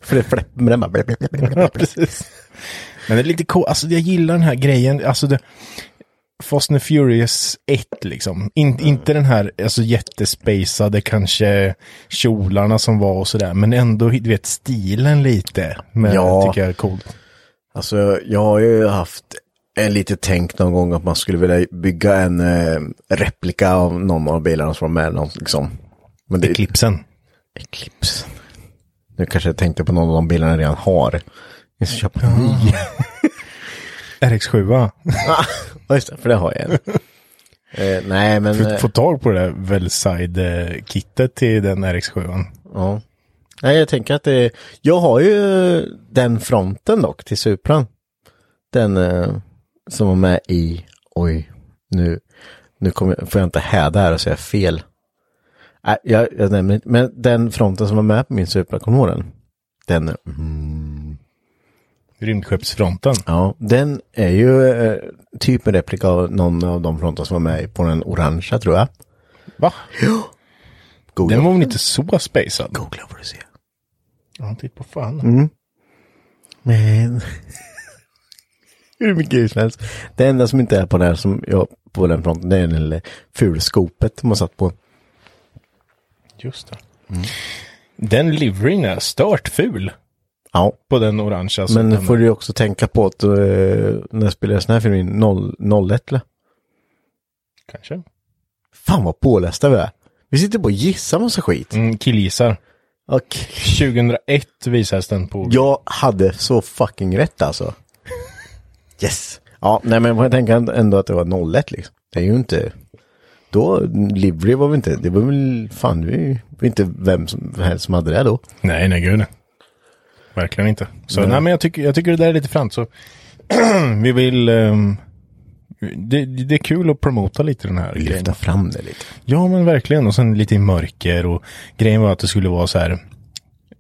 För det fläpper med den bara. blip, blip, blip, blip, ja, blip. precis. Men det är lite coolt. Alltså jag gillar den här grejen. Alltså det... Fast and Furious 1 liksom. In, Inte den här alltså, jättespacade kanske kjolarna som var och sådär. Men ändå, du vet, stilen lite. Men Ja. tycker jag är coolt. Alltså jag har ju haft en lite tänk någon gång att man skulle vilja bygga en eh, replika av någon av bilarna som var med. Någon, liksom. Men det, Eclipsen. Eclipse. Nu kanske jag tänkte på någon av de bilarna jag redan har. Jag ska köpa en ny. RX7. va? Ja, just det, för det har jag en. eh, nej, men... Få, eh, få tag på det där Wellside-kittet till den RX7. Ja. Nej, jag tänker att det... Jag har ju den fronten dock till Supran. Den eh, som var med i... Oj, nu, nu kommer, jag- får jag inte häda här och säga fel. Nej, jag, jag nämner inte. Men den fronten som var med på min Supra, kommer du ihåg den? Den... Rymdskeppsfronten. Ja, den är ju eh, typ en replika av någon av de frontar som var med på den orangea tror jag. Va? Googla, Den var väl inte så spacad? Googla får du se. Mm. Ja, titta på fan. Men... Hur mycket ljus som helst. Det enda som inte är på den här som jag på den fronten, det är den lilla fulskopet man satt på. Just det. Mm. Den liveryn är stört ful Ja, på den orangea. som men den- får du ju också tänka på att eh, när jag spelade sån här film in 01 eller? Kanske. Fan vad pålästa vi är. Vi sitter på och gissar massa skit. Mm, killgissar. Och 2001 visades den på. Jag hade så fucking rätt alltså. Yes. Ja, nej men jag tänker ändå att det var 01 liksom. Det är ju inte... Då, Livery var väl inte, det var väl, fan det var ju inte vem som helst som hade det då. Nej, nej gud. nej. Verkligen inte. Så nej, men jag tycker, jag tycker det där är lite fränt. Så vi vill... ehm, det, det är kul att promota lite den här grejen. Lyfta fram det lite. Ja men verkligen och sen lite i mörker och grejen var att det skulle vara så här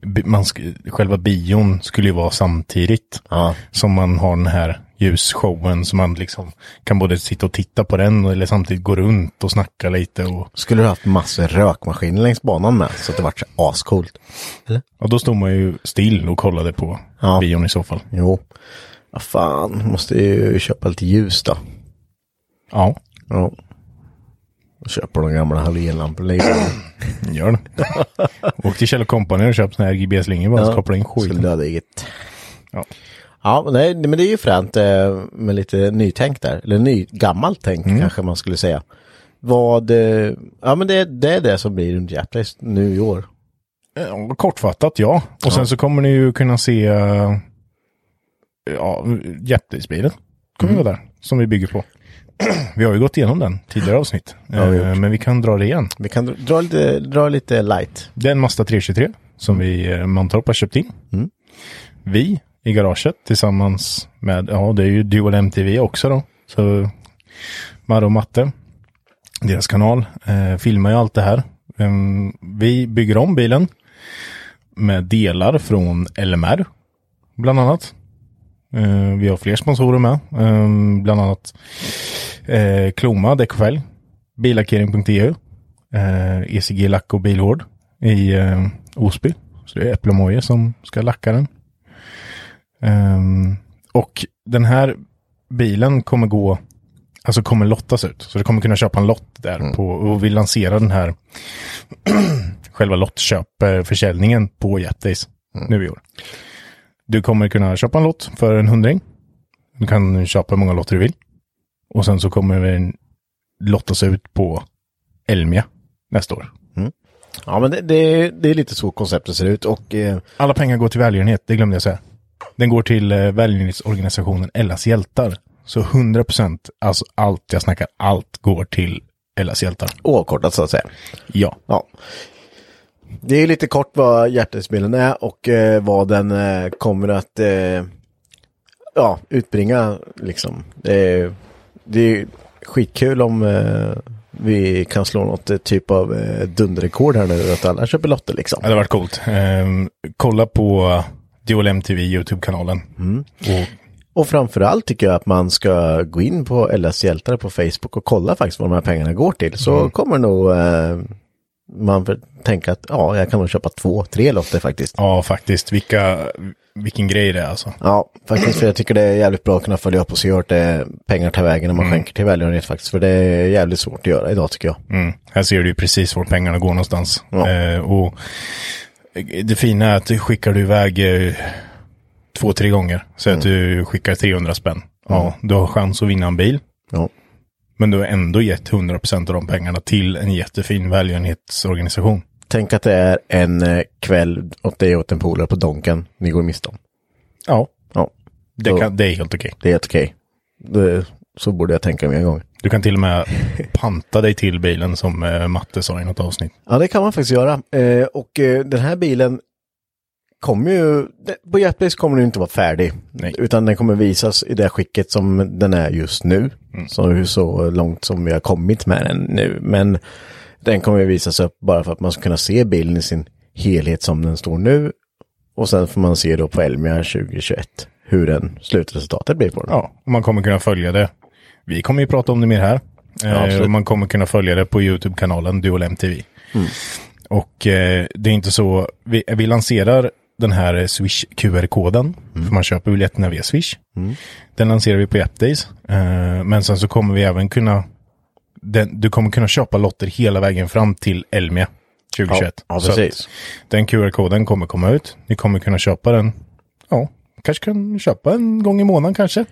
bi- man sk- själva bion skulle ju vara samtidigt Ja. som man har den här ljusshowen som man liksom kan både sitta och titta på den eller samtidigt gå runt och snacka lite och, Skulle du haft massor rökmaskiner längs banan med så att det vart så ascoolt. och då stod man ju still och kollade på Ja. bion i så fall. Jo. Ja, fan, måste ju köpa lite ljus då. Ja, Ja. Köper de gamla halogenlamporna. liksom. gör det. Åk till Kjell Company och köp såna här RGB-slingor bara så koppla in Skulle skiten. döda eget. Ja. Ja, men nej, men det är ju fränt eh, med lite nytänk där. Eller ny, gammalt tänk kanske man skulle säga. Vad, eh, ja men det, det är det som blir runt Japplace nu i år. Ja, Eh, Kortfattat ja. Och sen så kommer ni ju kunna se eh, ja, Jeppdisbilen. Kommer Mm. vara där. Som vi bygger på. vi har ju gått igenom den tidigare avsnitt. vi har Eh, men vi kan dra det igen. Vi kan dra- dra lite, dra lite light. Det är en Mazda 323 som vi eh, Mantorp har köpt in. Vi i garaget tillsammans med, ja det är ju Dual MTV också då. Så Marre och Matte, deras kanal, eh, filmar ju allt det här. Ehm, vi bygger om bilen med delar från LMR bland annat. Eh, vi har fler sponsorer med, Ehm, bland annat eh, Kloma däckfälg, billackering.eu, eh, ECG Lack och Bilvård i eh, Osby. Så det är Äpple och Moje som ska lacka den. Ehm, och den här bilen kommer gå, alltså kommer lottas ut. Så du kommer kunna köpa en lott där på, och vi lanserar den här själva lottköpförsäljningen på Jetdays nu i år. Du kommer kunna köpa en lott för en hundring. Du kan köpa hur många lotter du vill. Och sen så kommer den lottas ut på Elmia nästa år. Ja men det, det, det är lite så konceptet ser ut och eh, Alla pengar går till välgörenhet, det glömde jag säga. Den går till eh, välgörenhetsorganisationen Ellas hjältar. Så 100 procent, alltså allt jag snackar, allt går till Ellas hjältar. oavkortat så att säga. Ja. Ja. Det är lite kort vad hjärtespelen är och eh, vad den eh, kommer att eh, ja, utbringa liksom. Det är, det är skitkul om eh, vi kan slå något eh, typ av eh, dunderrekord här nu, att alla köper lotter liksom. Det hade varit coolt. Ehm, kolla på Dual MTV YouTube-kanalen. Och, Och framförallt tycker jag att man ska gå in på LS Hjältar på Facebook och kolla faktiskt vad de här pengarna går till. Så kommer nog eh, man väl tänka att ja, jag kan nog köpa två, tre lotter faktiskt. ja, faktiskt. Vilka, vilken grej det är alltså. Ja, faktiskt. För jag tycker det är jävligt bra att kunna följa upp och se vart det pengar tar vägen när man skänker till välgörenhet faktiskt. För det är jävligt svårt att göra idag tycker jag. Mm. Här ser du ju precis var pengarna går någonstans. Eh, och det fina är att skickar du iväg eh, två, tre gånger, så att Mm. du skickar 300 spänn. Ja, du har chans att vinna en bil. Ja. Men du har ändå gett 100% av de pengarna till en jättefin välgörenhetsorganisation. Tänk att det är en eh, kväll åt dig och åt en polare på Donken ni går miste om. Ja, Ja, det, Så- kan, det är helt okej. det är helt okej. Det- Så borde jag tänka mig en gång. Du kan till och med panta dig till bilen som eh, Matte sa i något avsnitt. Ja, det kan man faktiskt göra. Eh, och eh, den här bilen kommer ju, det- på Jetbase kommer den ju inte vara färdig. Nej. Utan den kommer visas i det skicket som den är just nu. Så, så långt som vi har kommit med den nu. Men den kommer ju visas upp bara för att man ska kunna se bilen i sin helhet som den står nu. Och sen får man se då på Elmia 2021 hur den slutresultatet blir på den. Ja, och man kommer kunna följa det. Vi kommer ju prata om det mer här. absolut. eh, och man kommer kunna följa det på YouTube-kanalen Dual MTV. Mm. Och eh, det är inte så, vi, vi lanserar den här Swish QR-koden, Mm. för man köper biljetterna via Swish. Den lanserar vi på Appdays. Eh, men sen så kommer vi även kunna, den, du kommer kunna köpa lotter hela vägen fram till Elmia 2021. Ja, ja, Så att precis. Den QR-koden kommer komma ut. Ni kommer kunna köpa den, ja, kanske kan köpa en gång i månaden kanske.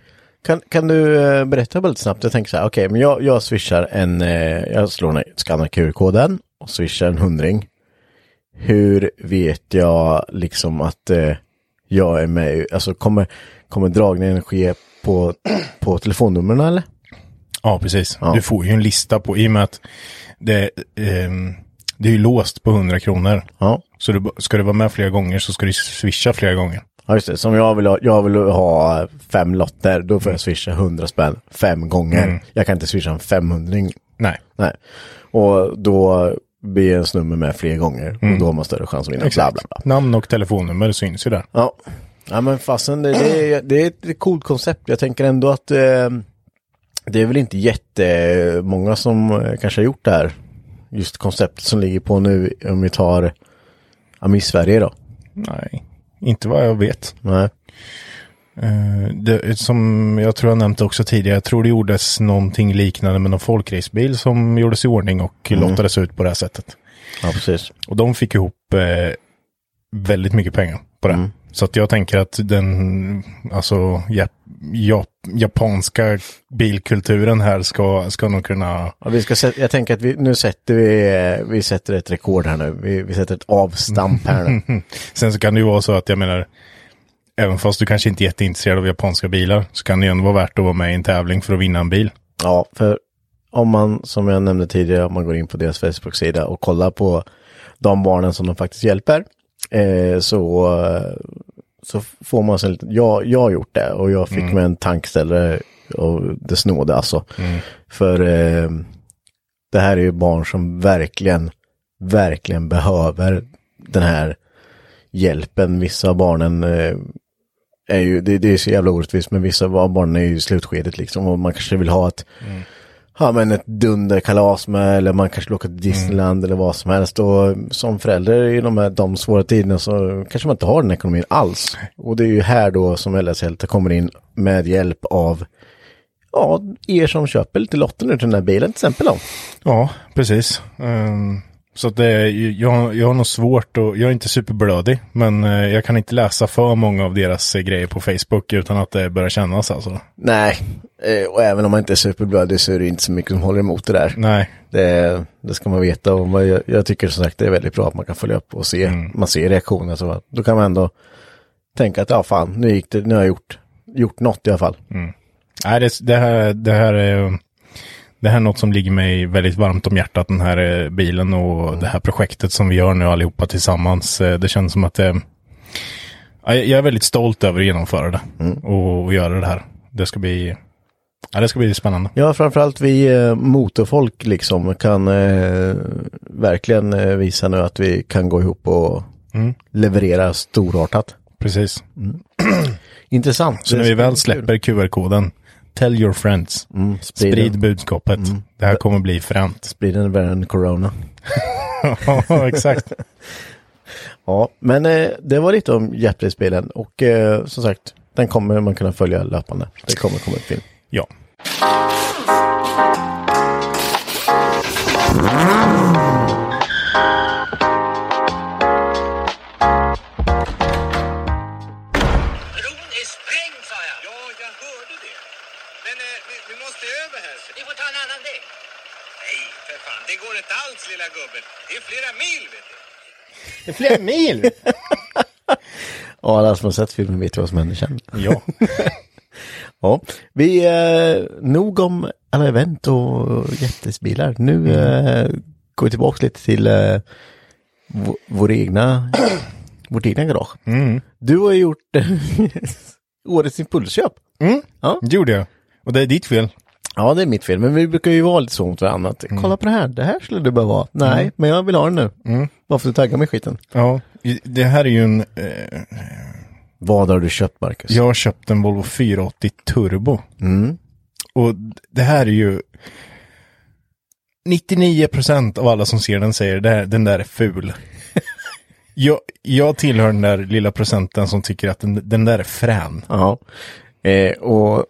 Kan, kan du eh, berätta bara lite snabbt? Jag tänker så här, okej, men jag, jag swishar en, eh, jag slår en, skannar QR-koden och swishar en hundring. Hur vet jag liksom att eh, jag är med? i- Alltså kommer, kommer dragningen ske på, på telefonnumren eller? Ja, precis. Du får ju en lista på, i och med att det, ehm, det är ju låst på 100 kronor. Ja, Så du, ska du vara med flera gånger så ska du swisha flera gånger. ja just det. Som jag vill ha, jag vill ha fem lotter, då får jag swisha 100 spänn fem gånger. Jag kan inte swisha en 500 Nej, Nej. Och då blir ens nummer med fler gånger och då har man större chans att vinna. Bla, bla, bla. Namn och telefonnummer syns ju där. Ja, ja men fasen det, det, är, det är ett coolt koncept. Jag tänker ändå att eh, det är väl inte jättemånga som eh, kanske har gjort det här. Just konceptet som ligger på nu, om vi tar ja, men i Sverige då. Nej, inte vad jag vet. Nej. Eh, det, som jag tror jag nämnt också tidigare, jag tror det gjordes någonting liknande med någon folkracebil som gjordes i ordning och lottades ut på det här sättet. Ja, precis. Och de fick ihop eh, väldigt mycket pengar på det. Så att jag tänker att den alltså, ja, ja, japanska bilkulturen här ska, ska nog kunna... Ja, vi ska, sä- jag tänker att vi, nu sätter vi, eh, vi sätter ett rekord här nu. Vi, vi sätter ett avstamp här nu. Sen så kan det ju vara så att jag menar, även fast du kanske inte är jätteintresserad av japanska bilar så kan det ju ändå vara värt att vara med i en tävling för att vinna en bil. Ja, för om man, som jag nämnde tidigare, om man går in på deras Facebook-sida och kollar på de barnen som de faktiskt hjälper, eh, så, så får man sig lite, jag, jag har gjort det och jag fick mig en tankställare och det snåde alltså. För eh, det här är ju barn som verkligen, verkligen behöver den här hjälpen. Vissa av barnen eh, är ju, det, det är så jävla orättvist, men vissa av barnen är ju i slutskedet liksom och man kanske vill ha ett, ja men ett dunderkalas med, eller man kanske vill åka till Disneyland eller vad som helst. Och som förälder i de här de svåra tiderna så kanske man inte har den ekonomin alls. Och det är ju här då som LS-hjältar kommer in med hjälp av Ja, er som köper lite lotter nu till den här bilen till exempel då. Ja, precis. Ehm, så att det är, ju- jag, jag har nog svårt och jag är inte superblödig, men eh, jag kan inte läsa för många av deras eh, grejer på Facebook utan att det börjar kännas alltså. Nej, eh, och även om man inte är superblödig så är det inte så mycket som håller emot det där. Nej, Det, det ska man veta och man, jag, jag tycker som sagt det är väldigt bra att man kan följa upp och se. Mm. Man ser reaktioner så att- då kan man ändå tänka att ja fan, nu gick det, nu har jag gjort, gjort något i alla fall. Mm. Nej det, det, här, det, här är, det här är något som ligger mig väldigt varmt om hjärtat, den här eh, bilen och det här projektet som vi gör nu allihopa tillsammans. Eh, Det känns som att det, eh, Ja, Jag jag är väldigt stolt över att genomföra det och, och göra det här. Det ska bli, ja, det ska bli spännande. Ja, framförallt vi eh, motorfolk liksom kan eh, verkligen eh, visa nu att vi kan gå ihop och Mm. leverera storartat. Precis. Intressant. Så när vi väl släpper QR-koden, tell your friends. sprid, Sprid sprid. budskapet. Det här kommer bli fränt. sprid den värre än corona. ja, exakt. Ja, men eh, det var lite om Jeopardy-spelen och eh, som sagt, den kommer man kunna följa löpande. Det kommer komma upp film. Ja. Bron är sprängd sa jag. Ja, jag hörde det. Men eh, vi, vi måste över här. Vi får ta en annan väg. Nej, för fan. Det går inte alls lilla gubben. Det är flera mil vet du. Det är flera mil! Ja, alla som har sett filmen vet ju vad som händer sen. ja. Ja, vi, eh, nog om alla event och jättesbilar. Nu Mm. eh, går vi tillbaka lite till eh, vår, vår egna, vårt egna garage. Mm. Du har ju gjort eh, årets impulsköp. Det gjorde jag. Och det är ditt fel. Ja, det är mitt fel, men vi brukar ju vara lite så mot varandra. att, Mm. Kolla på det här, det här skulle du behöva ha. Nej, men jag vill ha den nu. Mm. Varför du taggar mig i skiten? Ja. Det här är ju en... Eh, Vad har du köpt, Marcus? Jag har köpt en Volvo 480 Turbo. Mm. Och det här är ju... 99% av alla som ser den säger det här, den där är ful. jag, jag tillhör den där lilla procenten som tycker att den, den där är frän. Ja, eh, och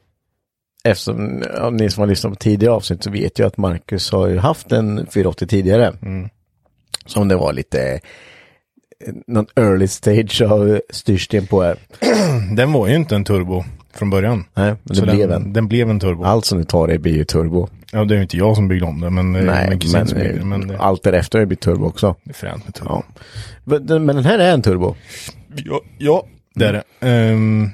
eftersom ja, ni som har lyssnat på tidigare avsnitt så vet ju att Marcus har ju haft en 480 tidigare. Mm. Som det var lite eh, någon early stage av styrsten på. här. Den var ju inte en turbo från början. Nej, men det Så blev den, en. Den blev en turbo. Allt som du tar det blir ju turbo. Ja, det är ju inte jag som byggde om den, men det är Nej, min kusin men, som byggde eh, den, men det allt därefter har ju blivit turbo också. det är fränt med turbo. Ja. Men den men den här är en turbo. Ja, ja det är det. Ehm,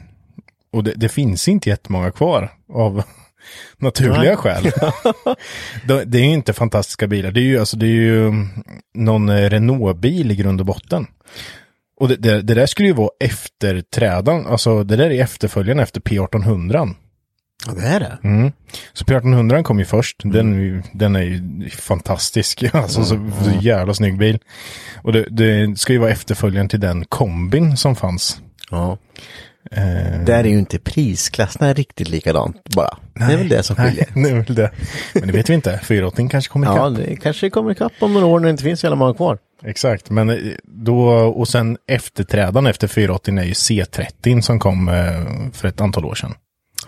och det, det finns inte jättemånga kvar av naturliga skäl. det, det är ju inte fantastiska bilar. Det är ju, alltså, det är ju mm, någon eh, Renault-bil i grund och botten. Och det, det, det där skulle ju vara efterträdan, alltså det där är efterföljaren efter P1800. Ja, det är det. Mm. Så P1800 kom ju först. Den, är ju- den är ju fantastisk. Alltså så, så jävla snygg bil. Och det, det ska ju vara efterföljaren till den kombin som fanns. Ja. Eh. Där är ju inte prisklasserna riktigt likadant bara. det är väl det som skiljer. Nej, det är väl det. Men det vet vi inte. 480 kanske kommer Ja, ikapp. det kanske kommer ikapp om några år när det inte finns så jävla många kvar. Exakt, men eh, då och sen efterträdaren efter 480 är ju C30 som kom eh, för ett antal år sedan.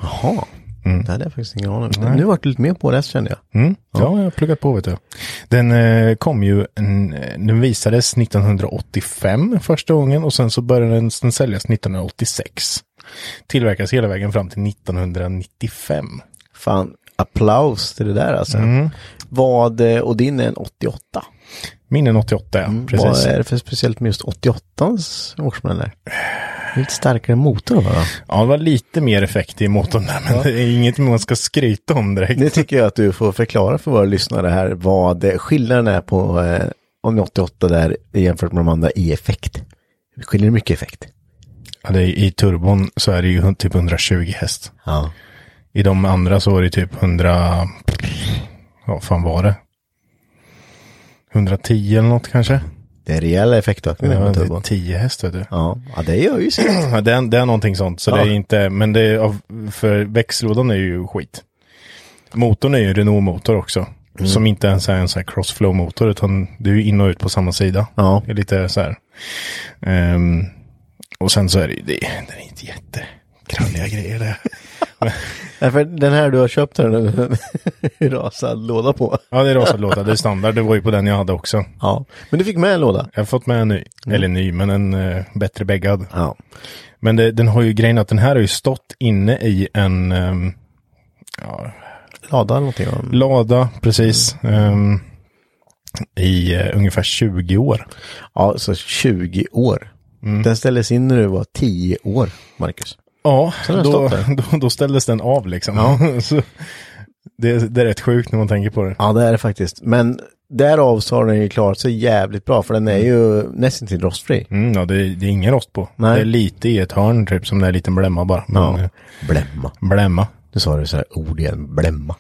Jaha. Mm. Det hade jag faktiskt ingen aning om. Nu vart du lite mer på det kände jag. Mm. Ja. jag har pluggat på vet du. Den eh, kom ju, en, eh, den visades 1985 första gången och sen så började den, den säljas 1986. Tillverkas hela vägen fram till 1995. Fan, applaus till det där alltså. Vad, eh, och din är en 88. Min är en 88, ja. precis. Vad är det för speciellt med just 88ans årsmodell? Lite starkare motor va? Ja, det var lite mer effekt i motorn där, men det är inget man ska skryta om direkt. Nu tycker jag att du får förklara för våra lyssnare här vad eh, skillnaden är på eh, om 88 där jämfört med de andra i effekt. Skiljer det mycket effekt? Ja, det är, I turbon så är det ju hun- typ 120 häst. Ja. I de andra så var det typ 100... Ja, fan var det? 110 eller något kanske? Det är rejäla effektökningar Ja, på det är turbon. 10 häst vet du. Ja. ja, det gör ju sitt. Ja, det, är, det är någonting sånt, så det Ja. är inte... Men det är av, för växellådan är ju skit. Motorn är ju en Renault-motor också. Mm. Som inte ens är en sån här crossflow-motor, utan det är ju in och ut på samma sida. Ja. Det är lite så här. Ehm, och sen så är det ju, det, det är inte jättekrangliga grejer det. Nej, för den här du har köpt har du en rasad låda på. Ja, det är rasad låda. Det är standard. Det var ju på den jag hade också. Ja, men du fick med en låda. Jag har fått med en ny, Mm. eller ny, men en eh, bättre bäggad. Ja. Men det, den har ju grejen att den här har ju stått inne i en ehm, ja, Lada eller någonting. va? lada, precis, ehm, i eh, ungefär 20 år. Ja, så 20 år. Den ställdes in när du var 10 år, Marcus. Ja, den har då, stått där. då, då ställdes den av liksom. så det, det är rätt sjukt när man tänker på det. Ja, det är det faktiskt. Men därav så har den ju klarat sig jävligt bra för den är ju nästan till rostfri. Mm, ja, det, är- det är ingen rost på. Nej. Det är lite i ett hörn typ, som det är en liten blämma bara. Men, eh, Blämma. Blämma. Nu sa du sådär ord igen, blämma.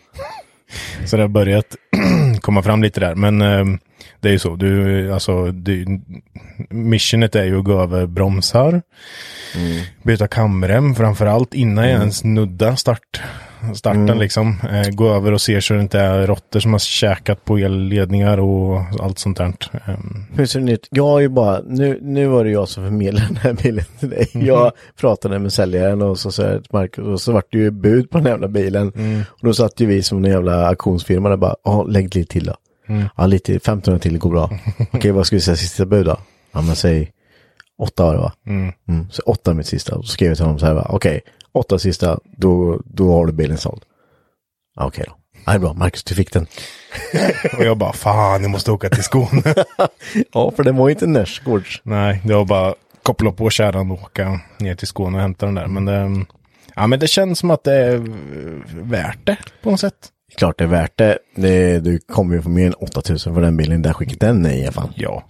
Så det har börjat komma fram lite där. Men ehm, det är ju så, du, alltså, du, missionet är ju att gå över bromsar, byta kamrem framför allt innan jag ens nuddar start, starten liksom. Eh, gå över och se så det inte är råttor som har käkat på elledningar och allt sånt där. Ehm, Hur ser det ut? Jag har ju bara, nu, nu var det jag som förmedlade den här bilen till dig. Jag pratade med säljaren och så sa jag till Marcus och så vart det ju bud på den jävla bilen. Och då satt ju vi som en jävla auktionsfirma där bara, ja lägg lite till då. Ja lite, 1500 till går bra. Okej vad ska vi säga sista bud då? Ja men säg åtta var det va? Mm. Så åtta är mitt sista. Och så skrev jag till honom så här va, okej åtta sista, då, då har du bilen såld. Ja, Okej då. Ja, det är bra, Marcus du fick den. och jag bara, fan jag måste åka till Skåne. Ja, för den var ju inte Närsgårds. Nej, det var bara koppla på kärran och åka ner till Skåne och hämta den där. Men det, ja, men det känns som att det är eh, värt det på något sätt. Klart det är värt det. det du kommer ju få mer än 8000 för den bilen där skicket den är i alla fall. Ja.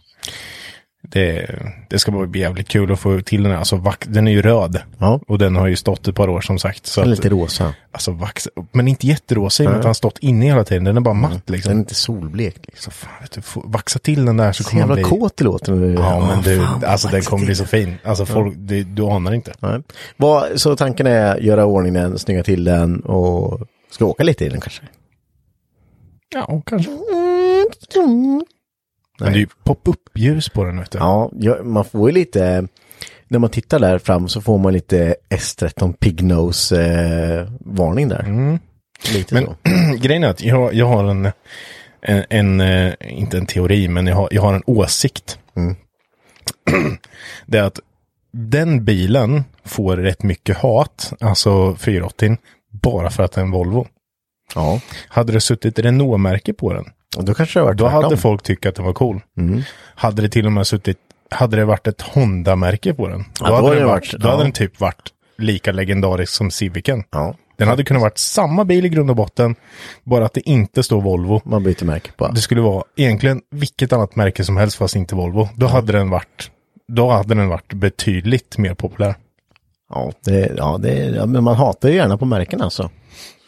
Det, det ska bara bli jävligt kul att få till den här. Alltså, vack, den är ju röd. Ja. Och den har ju stått ett par år som sagt. Så Den är att, lite rosa. alltså, vax, men inte jätterosig, men att den har stått inne hela tiden. Den är bara matt liksom. Den är inte solblekt liksom. Så fan, vet du, få- vaxa till den där så Så kommer man jävla bli... kåt det låter. nu. Ja, men du, fan, alltså vad den kommer bli faktiskt. så fin. Alltså folk, det, du anar inte. Nej. Vad, så tanken är göra ordning den, snygga till den och ska åka lite i den kanske. Ja, kanske. Men det är ju pop-up-ljus på den, vet du. Mm. Ja, ja, man får ju lite, när man tittar där fram så får man lite S13 Pignose eh, varning där. Lite Men så. grejen är att jag, jag har en, en, en, eh, inte en teori, men jag har, jag har en åsikt. Mm. det är att den bilen får rätt mycket hat, alltså 480, bara för att det är en Volvo. Ja, Hade det suttit Renault-märke på den, och då kanske det har varit då tvärtom. Mm. hade folk tyckt att den var cool. Hade det till och med suttit, hade det varit ett Honda-märke på den, Ja, då hade den, det varit, varit- då hade ja. den typ varit lika legendarisk som Civicen. Ja, Den hade kunnat varit samma bil i grund och botten, bara att det inte står Volvo. man byter märke på. Det skulle vara egentligen vilket annat märke som helst fast inte Volvo. Då hade den varit, då hade den varit betydligt mer populär. Ja, det, ja, det, ja, men man hatar ju gärna på märken alltså.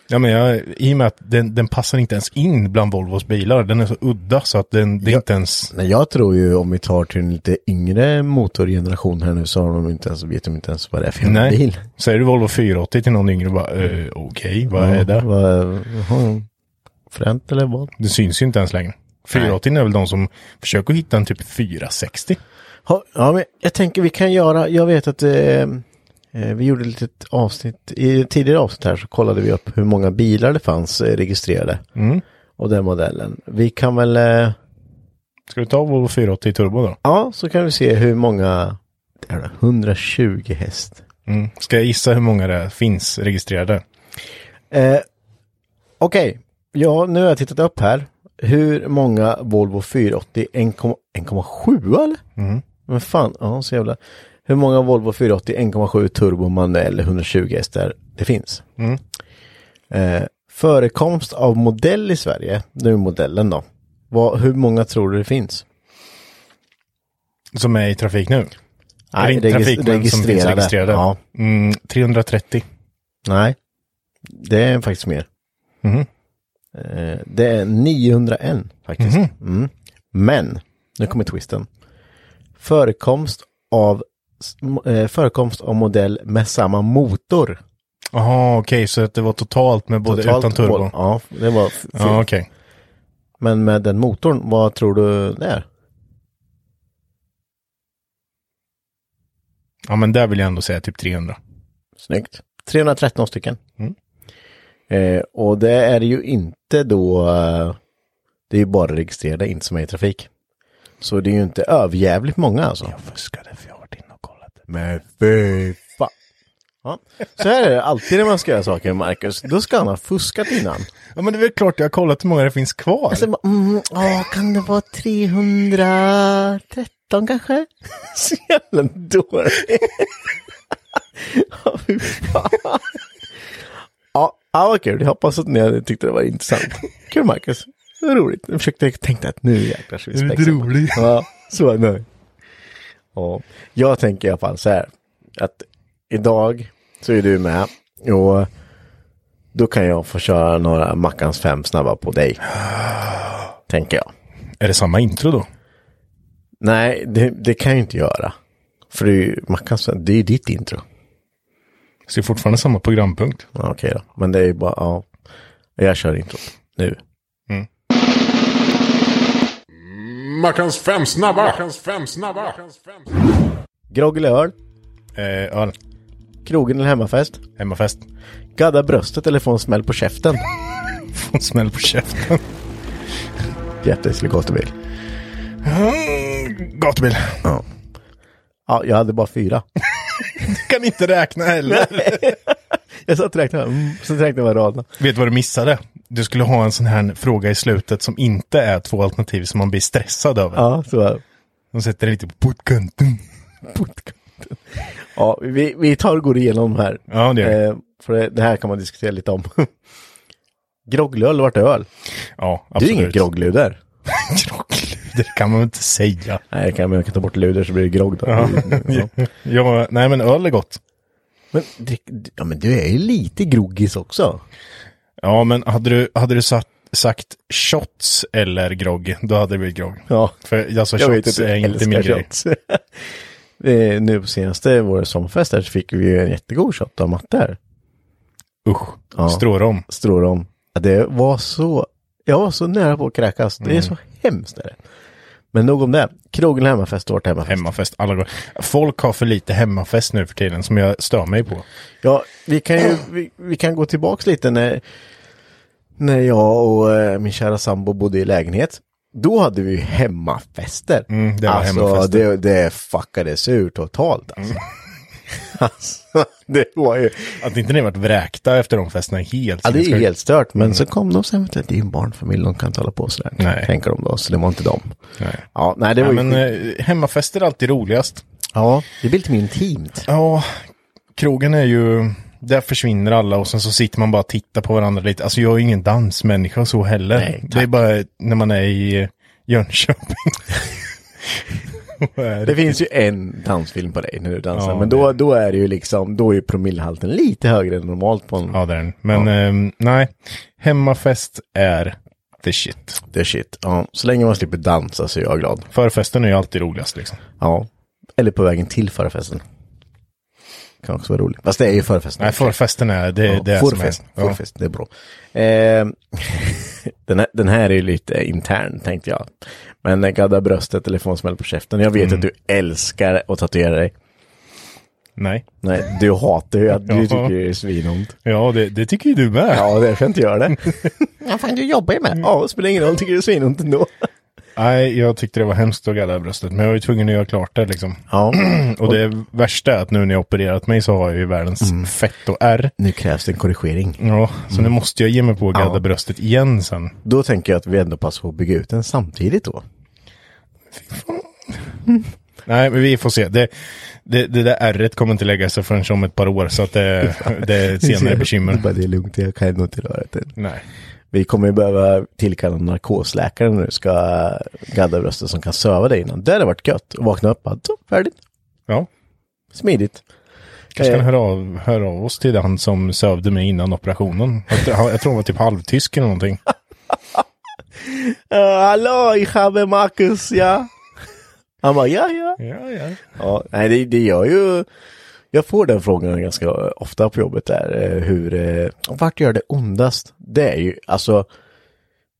Ja, men jag, I och med att den, den passar inte ens in bland Volvos bilar. Den är så udda så att den, det är Ja. inte ens... Men jag tror ju om vi tar till en lite yngre motorgeneration här nu så har de inte ens, vet de inte ens vad det är för Nej. Nej. bil. Mm. Säger du Volvo 480 till någon yngre bara, eh, okej, vad är det? Vad, jaha, fränt eller vad? Det syns ju inte ens längre. 480 är väl de som försöker hitta en typ 460. Ha, ja, men jag tänker vi kan göra, jag vet att eh, eh, vi gjorde ett litet avsnitt, i ett tidigare avsnitt här så kollade vi upp hur många bilar det fanns eh, registrerade. Mm. Och den modellen. Vi kan väl, eh, Ska du ta Volvo 480 turbo då? ja så kan vi se hur många, det är 120 häst. Mm. Ska jag gissa hur många det finns registrerade? Eh, Okej, ja, nu har jag tittat upp här. Hur många Volvo 480 1,7 eller? Men fan, ja så jävla. Hur många Volvo 480 1,7 turbo manuell 120 hästar det finns? Eh, förekomst av modell i Sverige, nu är modellen då. Vad, hur många tror du det finns? Som är i trafik nu? Eller inte regis- trafik, men som finns registrerade. Ja, Mm, 330. nej, det är faktiskt mer. Mhm. Eh, Det är 901 faktiskt. Mhm. Mm. Men, nu kommer twisten. Förekomst av, s- mo- eh, förekomst av modell med samma motor. Jaha, okej, så att det var totalt med både Totalt utan turbo? mål- Ja, det var f- ja, okej. Men med den motorn, vad tror du det är? Ja, men där vill jag ändå säga typ 300. Snyggt. 313 stycken. Eh, och det är ju inte då, eh, det är ju bara registrerade, inte som är i trafik. Så det är ju inte överjävligt många alltså. fuskade för jag har varit inne och kollat. Men fy fan. Ja. Så här är det alltid när man ska göra saker med Marcus. Då ska han ha fuskat innan. Ja, men det är väl klart jag har kollat hur många det finns kvar. Alltså, bara, mm, åh, kan det vara 313 kanske? Så jävla dålig. Ja, fy fan. Ja, ja, vad kul. Jag hoppas att ni hade tyckt det var intressant. Kul Marcus. Så roligt. Jag försökte tänka att nu jäklar ska vi Är du spexa. rolig? Ja, så nöjd. Ja, jag tänker i alla fall så här. Att idag så är du med. Och då kan jag få köra några Mackans fem snabba på dig. Tänker jag. Är det samma intro då? Nej, det, det kan jag ju inte göra. För det är ju Mackans fem, det är ju ditt intro. Så det är fortfarande samma programpunkt. Ja, okej då. Men det är ju bara, ja. Jag kör intro nu. Mm. Mackans fem snabba! Mackans fem snabba! Grogg eller öl? Eh, öl. Krogen eller hemmafest? Hemmafest. Gadda bröstet eller få en smäll på käften? Få en smäll på käften. Grattis till gatubil. Mm, Gatubil. Ja, jag hade bara fyra. Kan inte räkna heller. Jag satt och räknade, mm, så räknade jag bara raderna. Vet du vad du missade? Du skulle ha en sån här fråga i slutet som inte är två alternativ som man blir stressad över. Ja, så var det. De sätter det lite på portkanten. Ja, vi, vi tar och går igenom här. Ja, det gör vi. eh, För det, det här kan man diskutera lite om. Grogglöl vart öl. Ja, Det är absolut. ju inget groggluder. Det kan man väl inte säga. Nej, jag kan, men jag kan ta bort luder så blir det grogg då. Ja. Ja, nej men öl är gott. Men, drick, ja, men du är ju lite groggis också. Ja, men hade du, hade du satt, sagt shots eller grogg, då hade det blivit grogg. Ja. För alltså, Jag vet shots att du är inte älskar min grej. shots. Eh, nu på senaste vår sommarfest här så fick vi ju en jättegod shot av Matte här. Usch, Ja. strårom. Strårom. Ja, Det var så, jag var så nära på att kräkas. Det är så hemskt. Är det. Men nog om det. Krogen eller hemmafest, vårt hemmafest. Hemmafest alla gånger. Folk har för lite hemmafest nu för tiden som jag stör mig på. Ja, vi kan ju vi, vi kan gå tillbaks lite när, när jag och eh, min kära sambo bodde i lägenhet. Då hade vi ju hemmafester. Mm, det var alltså, hemmafester. Mm. Det, det fuckades ur totalt alltså. alltså det var ju... Att inte ni varit vräkta efter de festerna är helt Ja, det är ju sinnessjukt. helt stört. Men så kom de sen, vet du, det är ju en barnfamilj, de kan inte hålla på sådär. Mm. Nej. Tänker de då, så det var inte dem. Nej. Ja, nej, det var ju Ja, men skit. eh, hemmafester är alltid roligast. Ja, det blir lite mer intimt. Ja, krogen är ju... Där försvinner alla och sen så sitter man bara och tittar på varandra lite. Alltså jag är ingen dansmänniska så heller. Nej, tack. det är bara när man är i eh, Jönköping. Och är- Det finns ju en dansfilm på dig när du dansar, Ja, men då, då är det ju liksom, då är ju promillehalten lite högre än normalt på en... Ja, det är den. Men ehm, nej, hemmafest är the shit. Det är shit. Ja, så länge man slipper dansa så är jag glad. Förfesten är ju alltid roligast liksom. Ja. Eller på vägen till förfesten. Kan också vara roligt. Fast det är ju förfesten. Nej, förfesten är det, Ja, det är Förfest, som är. Ja. förfest, det är bra. Eh, den, här, den här är ju lite intern tänkte jag. Men eh, gadda bröstet eller få en smäll på käften. Jag Mm. vet att du älskar att tatuera dig. Nej. Nej, du hatar ju att du Ja. tycker det är svinont. Ja, det, det tycker ju du med. Ja, därför jag inte gör det. ja, fan du jobbar ju med. Ja, det spelar ingen roll, tycker det är svinont ändå. Nej, jag tyckte det var hemskt att gadda bröstet, men jag var ju tvungen att göra klart det liksom. Ja, Och Mm. det värsta är att nu när jag opererat mig så har jag ju världens fett och ärr. nu krävs det en korrigering. Ja, så nu måste jag ge mig på att gadda bröstet igen sen. Då tänker jag att vi ändå passar på att bygga ut den samtidigt då. Nej, men vi får se. Det, det, det där ärret kommer inte lägga sig förrän om ett par år, så att det, det är ett senare Det är bara, bekymmer. Det är lugnt, jag kan ändå inte röra det. Nej. Vi kommer ju behöva tillkalla en narkosläkare när du ska gadda bröstet som kan söva dig innan. Det hade varit gött att vakna upp bara, så, färdigt, Ja, smidigt. kanske kan Eh. höra av, höra av oss till han som sövde mig innan operationen. Jag, han- jag tror han var typ halvtysk eller någonting. Uh, hallå, ich habe Marcus, ja. Han bara, ja, ja. Ja, ja. ja nej, det, det gör ju... Jag får den frågan ganska ofta på jobbet där, eh, hur... eh, Vart gör det ondast? Det är ju, alltså,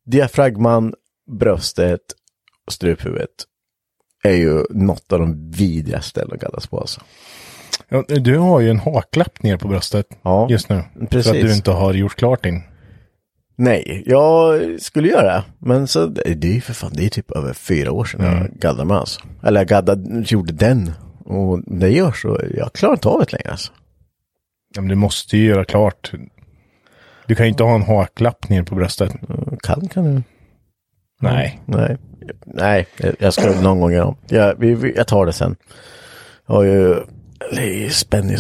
diafragman, bröstet, struphuvudet är ju något av de vidrigaste ställen att gaddas på alltså. Ja, Du har ju en haklapp ner på bröstet Ja, just nu. precis. För att du inte har gjort klart din. Nej, jag skulle göra det. Men så, det är ju för fan, det är typ över fyra år sedan jag gaddade mig alltså. Eller jag gaddade, gjorde den. Och det gör så, jag klarar inte av det längre alltså. Ja, men du måste ju göra klart. Du kan ju inte ha en haklapp ner på bröstet. Mm. Kan, kan du? Nej. Nej, nej, jag- jag ska någon gång göra om. Jag, vi, vi, jag tar det sen. Jag har ju, det är ju spännande.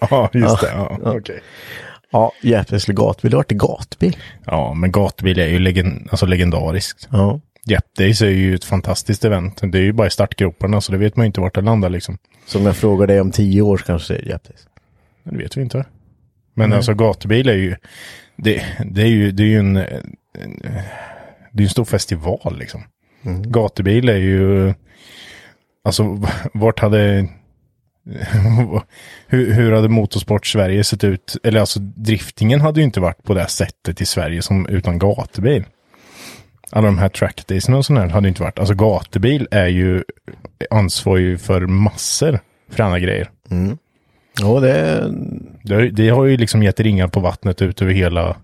Ja, just det. Ja. Ja. Okej. Ja, Jeppes gatbil. Det vart gatbil. Ja, men gatbil är ju legend, alltså legendariskt. Ja. Jep Days är ju ett fantastiskt event. Det är ju bara i startgroparna, så det vet man ju inte vart det landar liksom. Så om jag frågar dig om tio år så kanske det är Jeppes. Men Det vet vi inte. Men alltså gatubil är ju, det, det är ju, det är ju en, en det är ju en stor festival liksom. Gatubil är ju, alltså vart hade, hur, hur hade motorsport Sverige sett ut? Eller alltså driftingen hade ju inte varit på det här sättet i Sverige som utan gatubil. Alla de här trackdaysen och sånt där hade ju inte varit. Alltså gatubil är ju ansvarig för massor för andra grejer. Ja, det är... Det, har ju- det har ju liksom gett ringar på vattnet ut över hela,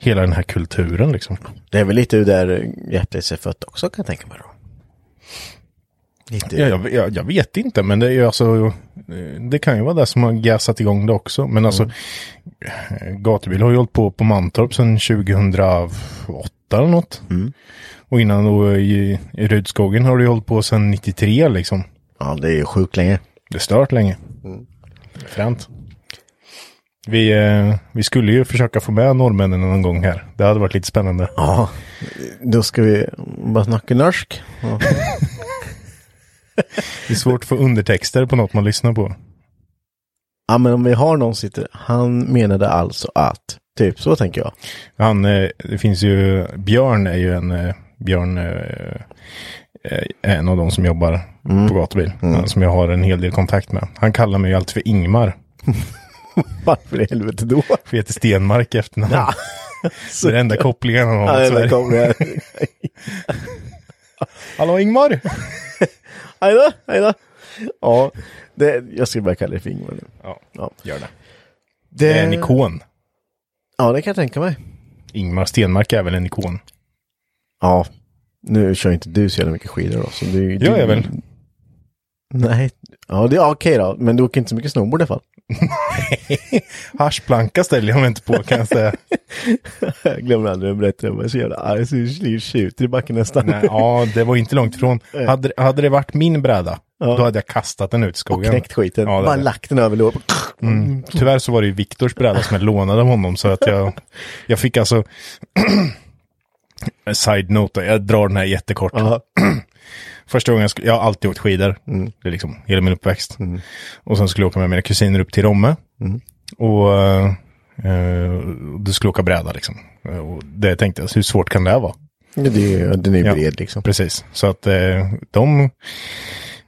hela den här kulturen liksom. Det är väl lite ur där Jeppes är fött också kan jag tänka mig då. Lite. Ja, jag, jag, jag vet inte, men det är ju alltså, eh, det kan ju vara det som har gasat igång det också. Men alltså, eh, Mm. gatubil har ju hållit på på Mantorp sedan 2008 eller något. Mm. Och innan då i, i Rudskogen har det ju hållit på sedan 93 liksom. Ja, det är ju sjukt länge. Det är stört länge. Mm. Fränt. Vi, eh, vi skulle ju försöka få med norrmännen någon gång här. Det hade varit lite spännande. Ja, då ska vi bara snacka norsk. Ja. Det är svårt att få undertexter på något man lyssnar på. ja, men om vi har någon sitter. Han menade alltså att. Typ så tänker jag. Han, eh, det finns ju, Björn är ju en, eh, Björn eh, eh, är en av de som jobbar på gatubil. eh, Som jag har en hel del kontakt med. Han kallar mig ju alltid för Ingmar. Varför i helvete då? För jag heter Stenmark i efternamn. Ja. Så det är den enda kopplingen han har Ja, med det Sverige. kom det. Hallå Ingmar! Hej då, hej då. Ja, det, jag ska bara kalla det för Ingvar nu. Ja, Ja. gör det. Det är en ikon. Ja, det kan jag tänka mig. Ingmar Stenmark är väl en ikon? Ja, nu kör inte du så jävla mycket skidor då. Så du, Gör du, jag väl? Nej, ja, det, ja, okej då. Men du åker inte så mycket snowboard i alla fall. Haschplanka ställer jag mig inte på kan jag säga. Jag glömmer aldrig att berätta, jag var så jävla arg så jag tjuter i backen nästan. Nej, ja, det var inte långt ifrån. Hade, hade det varit min bräda, då hade jag kastat den ut i skogen. Knäckt skiten, Ja, det bara Mm. hade jag. Mm. lagt den över låret. Tyvärr så var det ju Viktors bräda som jag lånade av honom så att jag, jag fick alltså... Side-note, jag drar den här jättekort. Ja. Mm. Första gången jag, skulle, jag har alltid åkt skidor, det är liksom hela min uppväxt. Och sen skulle jag åka med mina kusiner upp till Romme. Mm. Och eh, du skulle åka bräda liksom. Och det tänkte jag, hur svårt kan det här vara? Ja, det är, den är ju Ja. bred liksom. Precis, så att eh, de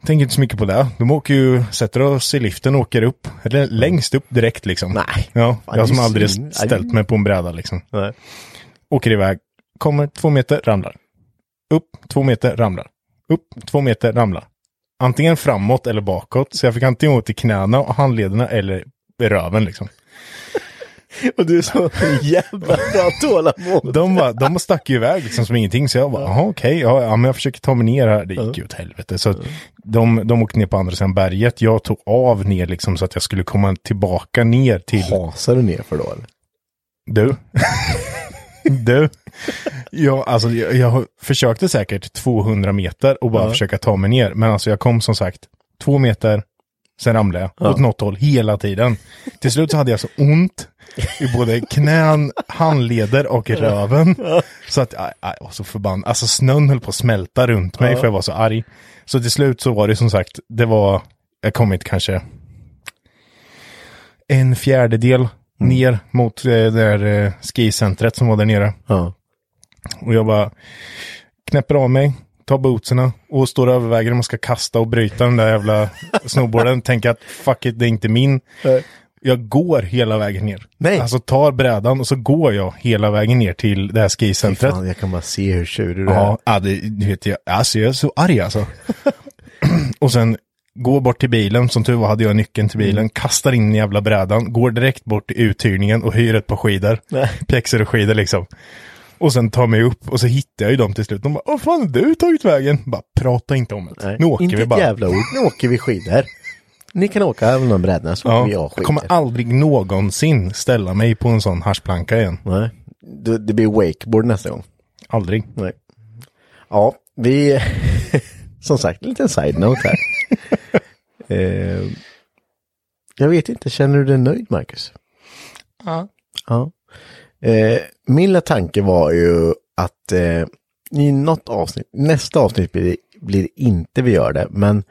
tänker inte så mycket på det. De åker ju, sätter oss i liften och åker upp, eller längst upp direkt liksom. Nej. Ja, det är jag som aldrig svin- ställt mig på en bräda liksom. Nej. Åker iväg, kommer två meter, ramlar. Upp, två meter, ramlar. Upp, två meter, ramlar. Antingen framåt eller bakåt, så jag fick antingen åt i knäna och handlederna eller i röven liksom. Och du är så jävla bra tålamod. De, var, de stack ju iväg liksom som ingenting, så jag bara, jaha okej, ja, ja, men jag försöker ta mig ner här. Det gick ju åt helvete. Så att de, de åkte ner på andra sidan berget, jag tog av ner liksom så att jag skulle komma tillbaka ner till... Hasar du ner för då eller? Du. du. Jag, alltså, jag, jag försökte säkert 200 meter och bara försöka ta mig ner. Men alltså jag kom som sagt två meter, sen ramlade jag åt något håll hela tiden. Till slut så hade jag så ont i både knän, handleder och röven. Så att aj, aj, jag var så förbannad. Alltså snön höll på att smälta runt mig för jag var så arg. Så till slut så var det som sagt, det var, jag kom inte kanske en fjärdedel ner mot eh, det där eh, skicentret som var där nere. Ja. Och jag bara knäpper av mig, tar bootserna och står och överväger om jag ska kasta och bryta den där jävla snowboarden. Tänker att fuck it, det är inte min. Jag går hela vägen ner. Nej. Alltså tar brädan och så går jag hela vägen ner till det här Fy skicentret. Fan, jag kan bara se hur tjurig du är. Ja, ja det, du vet, jag, alltså, jag är så arg alltså. och sen går bort till bilen, som tur var hade jag nyckeln till Mm. bilen, kastar in den jävla brädan, går direkt bort till uthyrningen och hyr ett par skidor. Pjäxor och skidor liksom. Och sen tar mig upp och så hittar jag ju dem till slut. De bara, vad fan har du tagit vägen? Bara, prata inte om det. Nej, Nu åker inte vi ett bara. jävla ord. Nu åker vi skidor. Ni kan åka över någon bräda så åker Ja, vi av jag skidor. kommer aldrig någonsin ställa mig på en sån haschplanka igen. Nej. Det, det blir wakeboard nästa gång. Aldrig. Nej. Ja, vi... som sagt, en liten side-note här. eh, jag vet inte, känner du dig nöjd Marcus? Ja. Eh, min lilla tanke var ju att eh, i något avsnitt, nästa avsnitt blir det, blir det inte vi gör det, men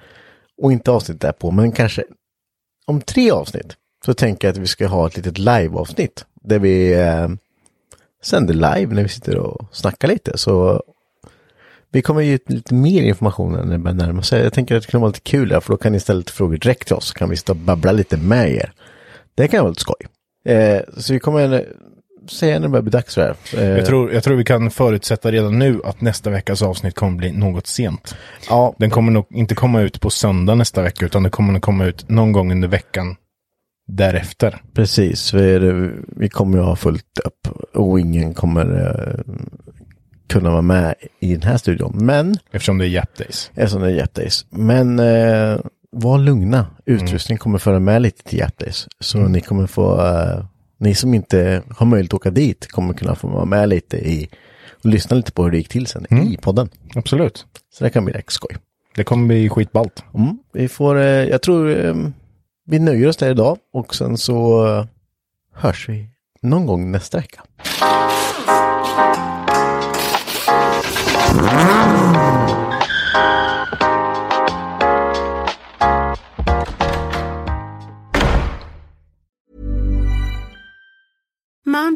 och inte avsnitt därpå, men kanske om tre avsnitt så tänker jag att vi ska ha ett litet live-avsnitt där vi eh, sänder live när vi sitter och snackar lite. Så vi kommer ge ut lite mer information när det börjar närma sig. Jag tänker att det kan vara lite kul där, för då kan ni ställa lite frågor direkt till oss, så kan vi sitta och babbla lite med er. Det kan vara lite skoj. Eh, så vi kommer eh, säga när det börjar bli dags för det här. Eh, Jag tror, jag tror vi kan förutsätta redan nu att nästa veckas avsnitt kommer bli något sent. ja, Den kommer nog inte komma ut på söndag nästa vecka, utan den kommer nog komma ut någon gång under veckan därefter. precis. Vi, är- vi kommer ju ha fullt upp och ingen kommer eh, kunna vara med i den här studion. Men Eftersom det är Jap Days. Eftersom det är Jap Days. Men eh, var lugna. Utrustning kommer föra med lite till Jap Days. Så ni kommer få, eh, ni som inte har möjlighet att åka dit kommer kunna få vara med lite i och lyssna lite på hur det gick till sen i podden. Absolut. Så det kan bli rätt skoj. Det kommer bli skitballt. Mm. Vi får, eh, jag tror eh, vi nöjer oss där idag och sen så eh, hörs vi någon gång nästa vecka. Mom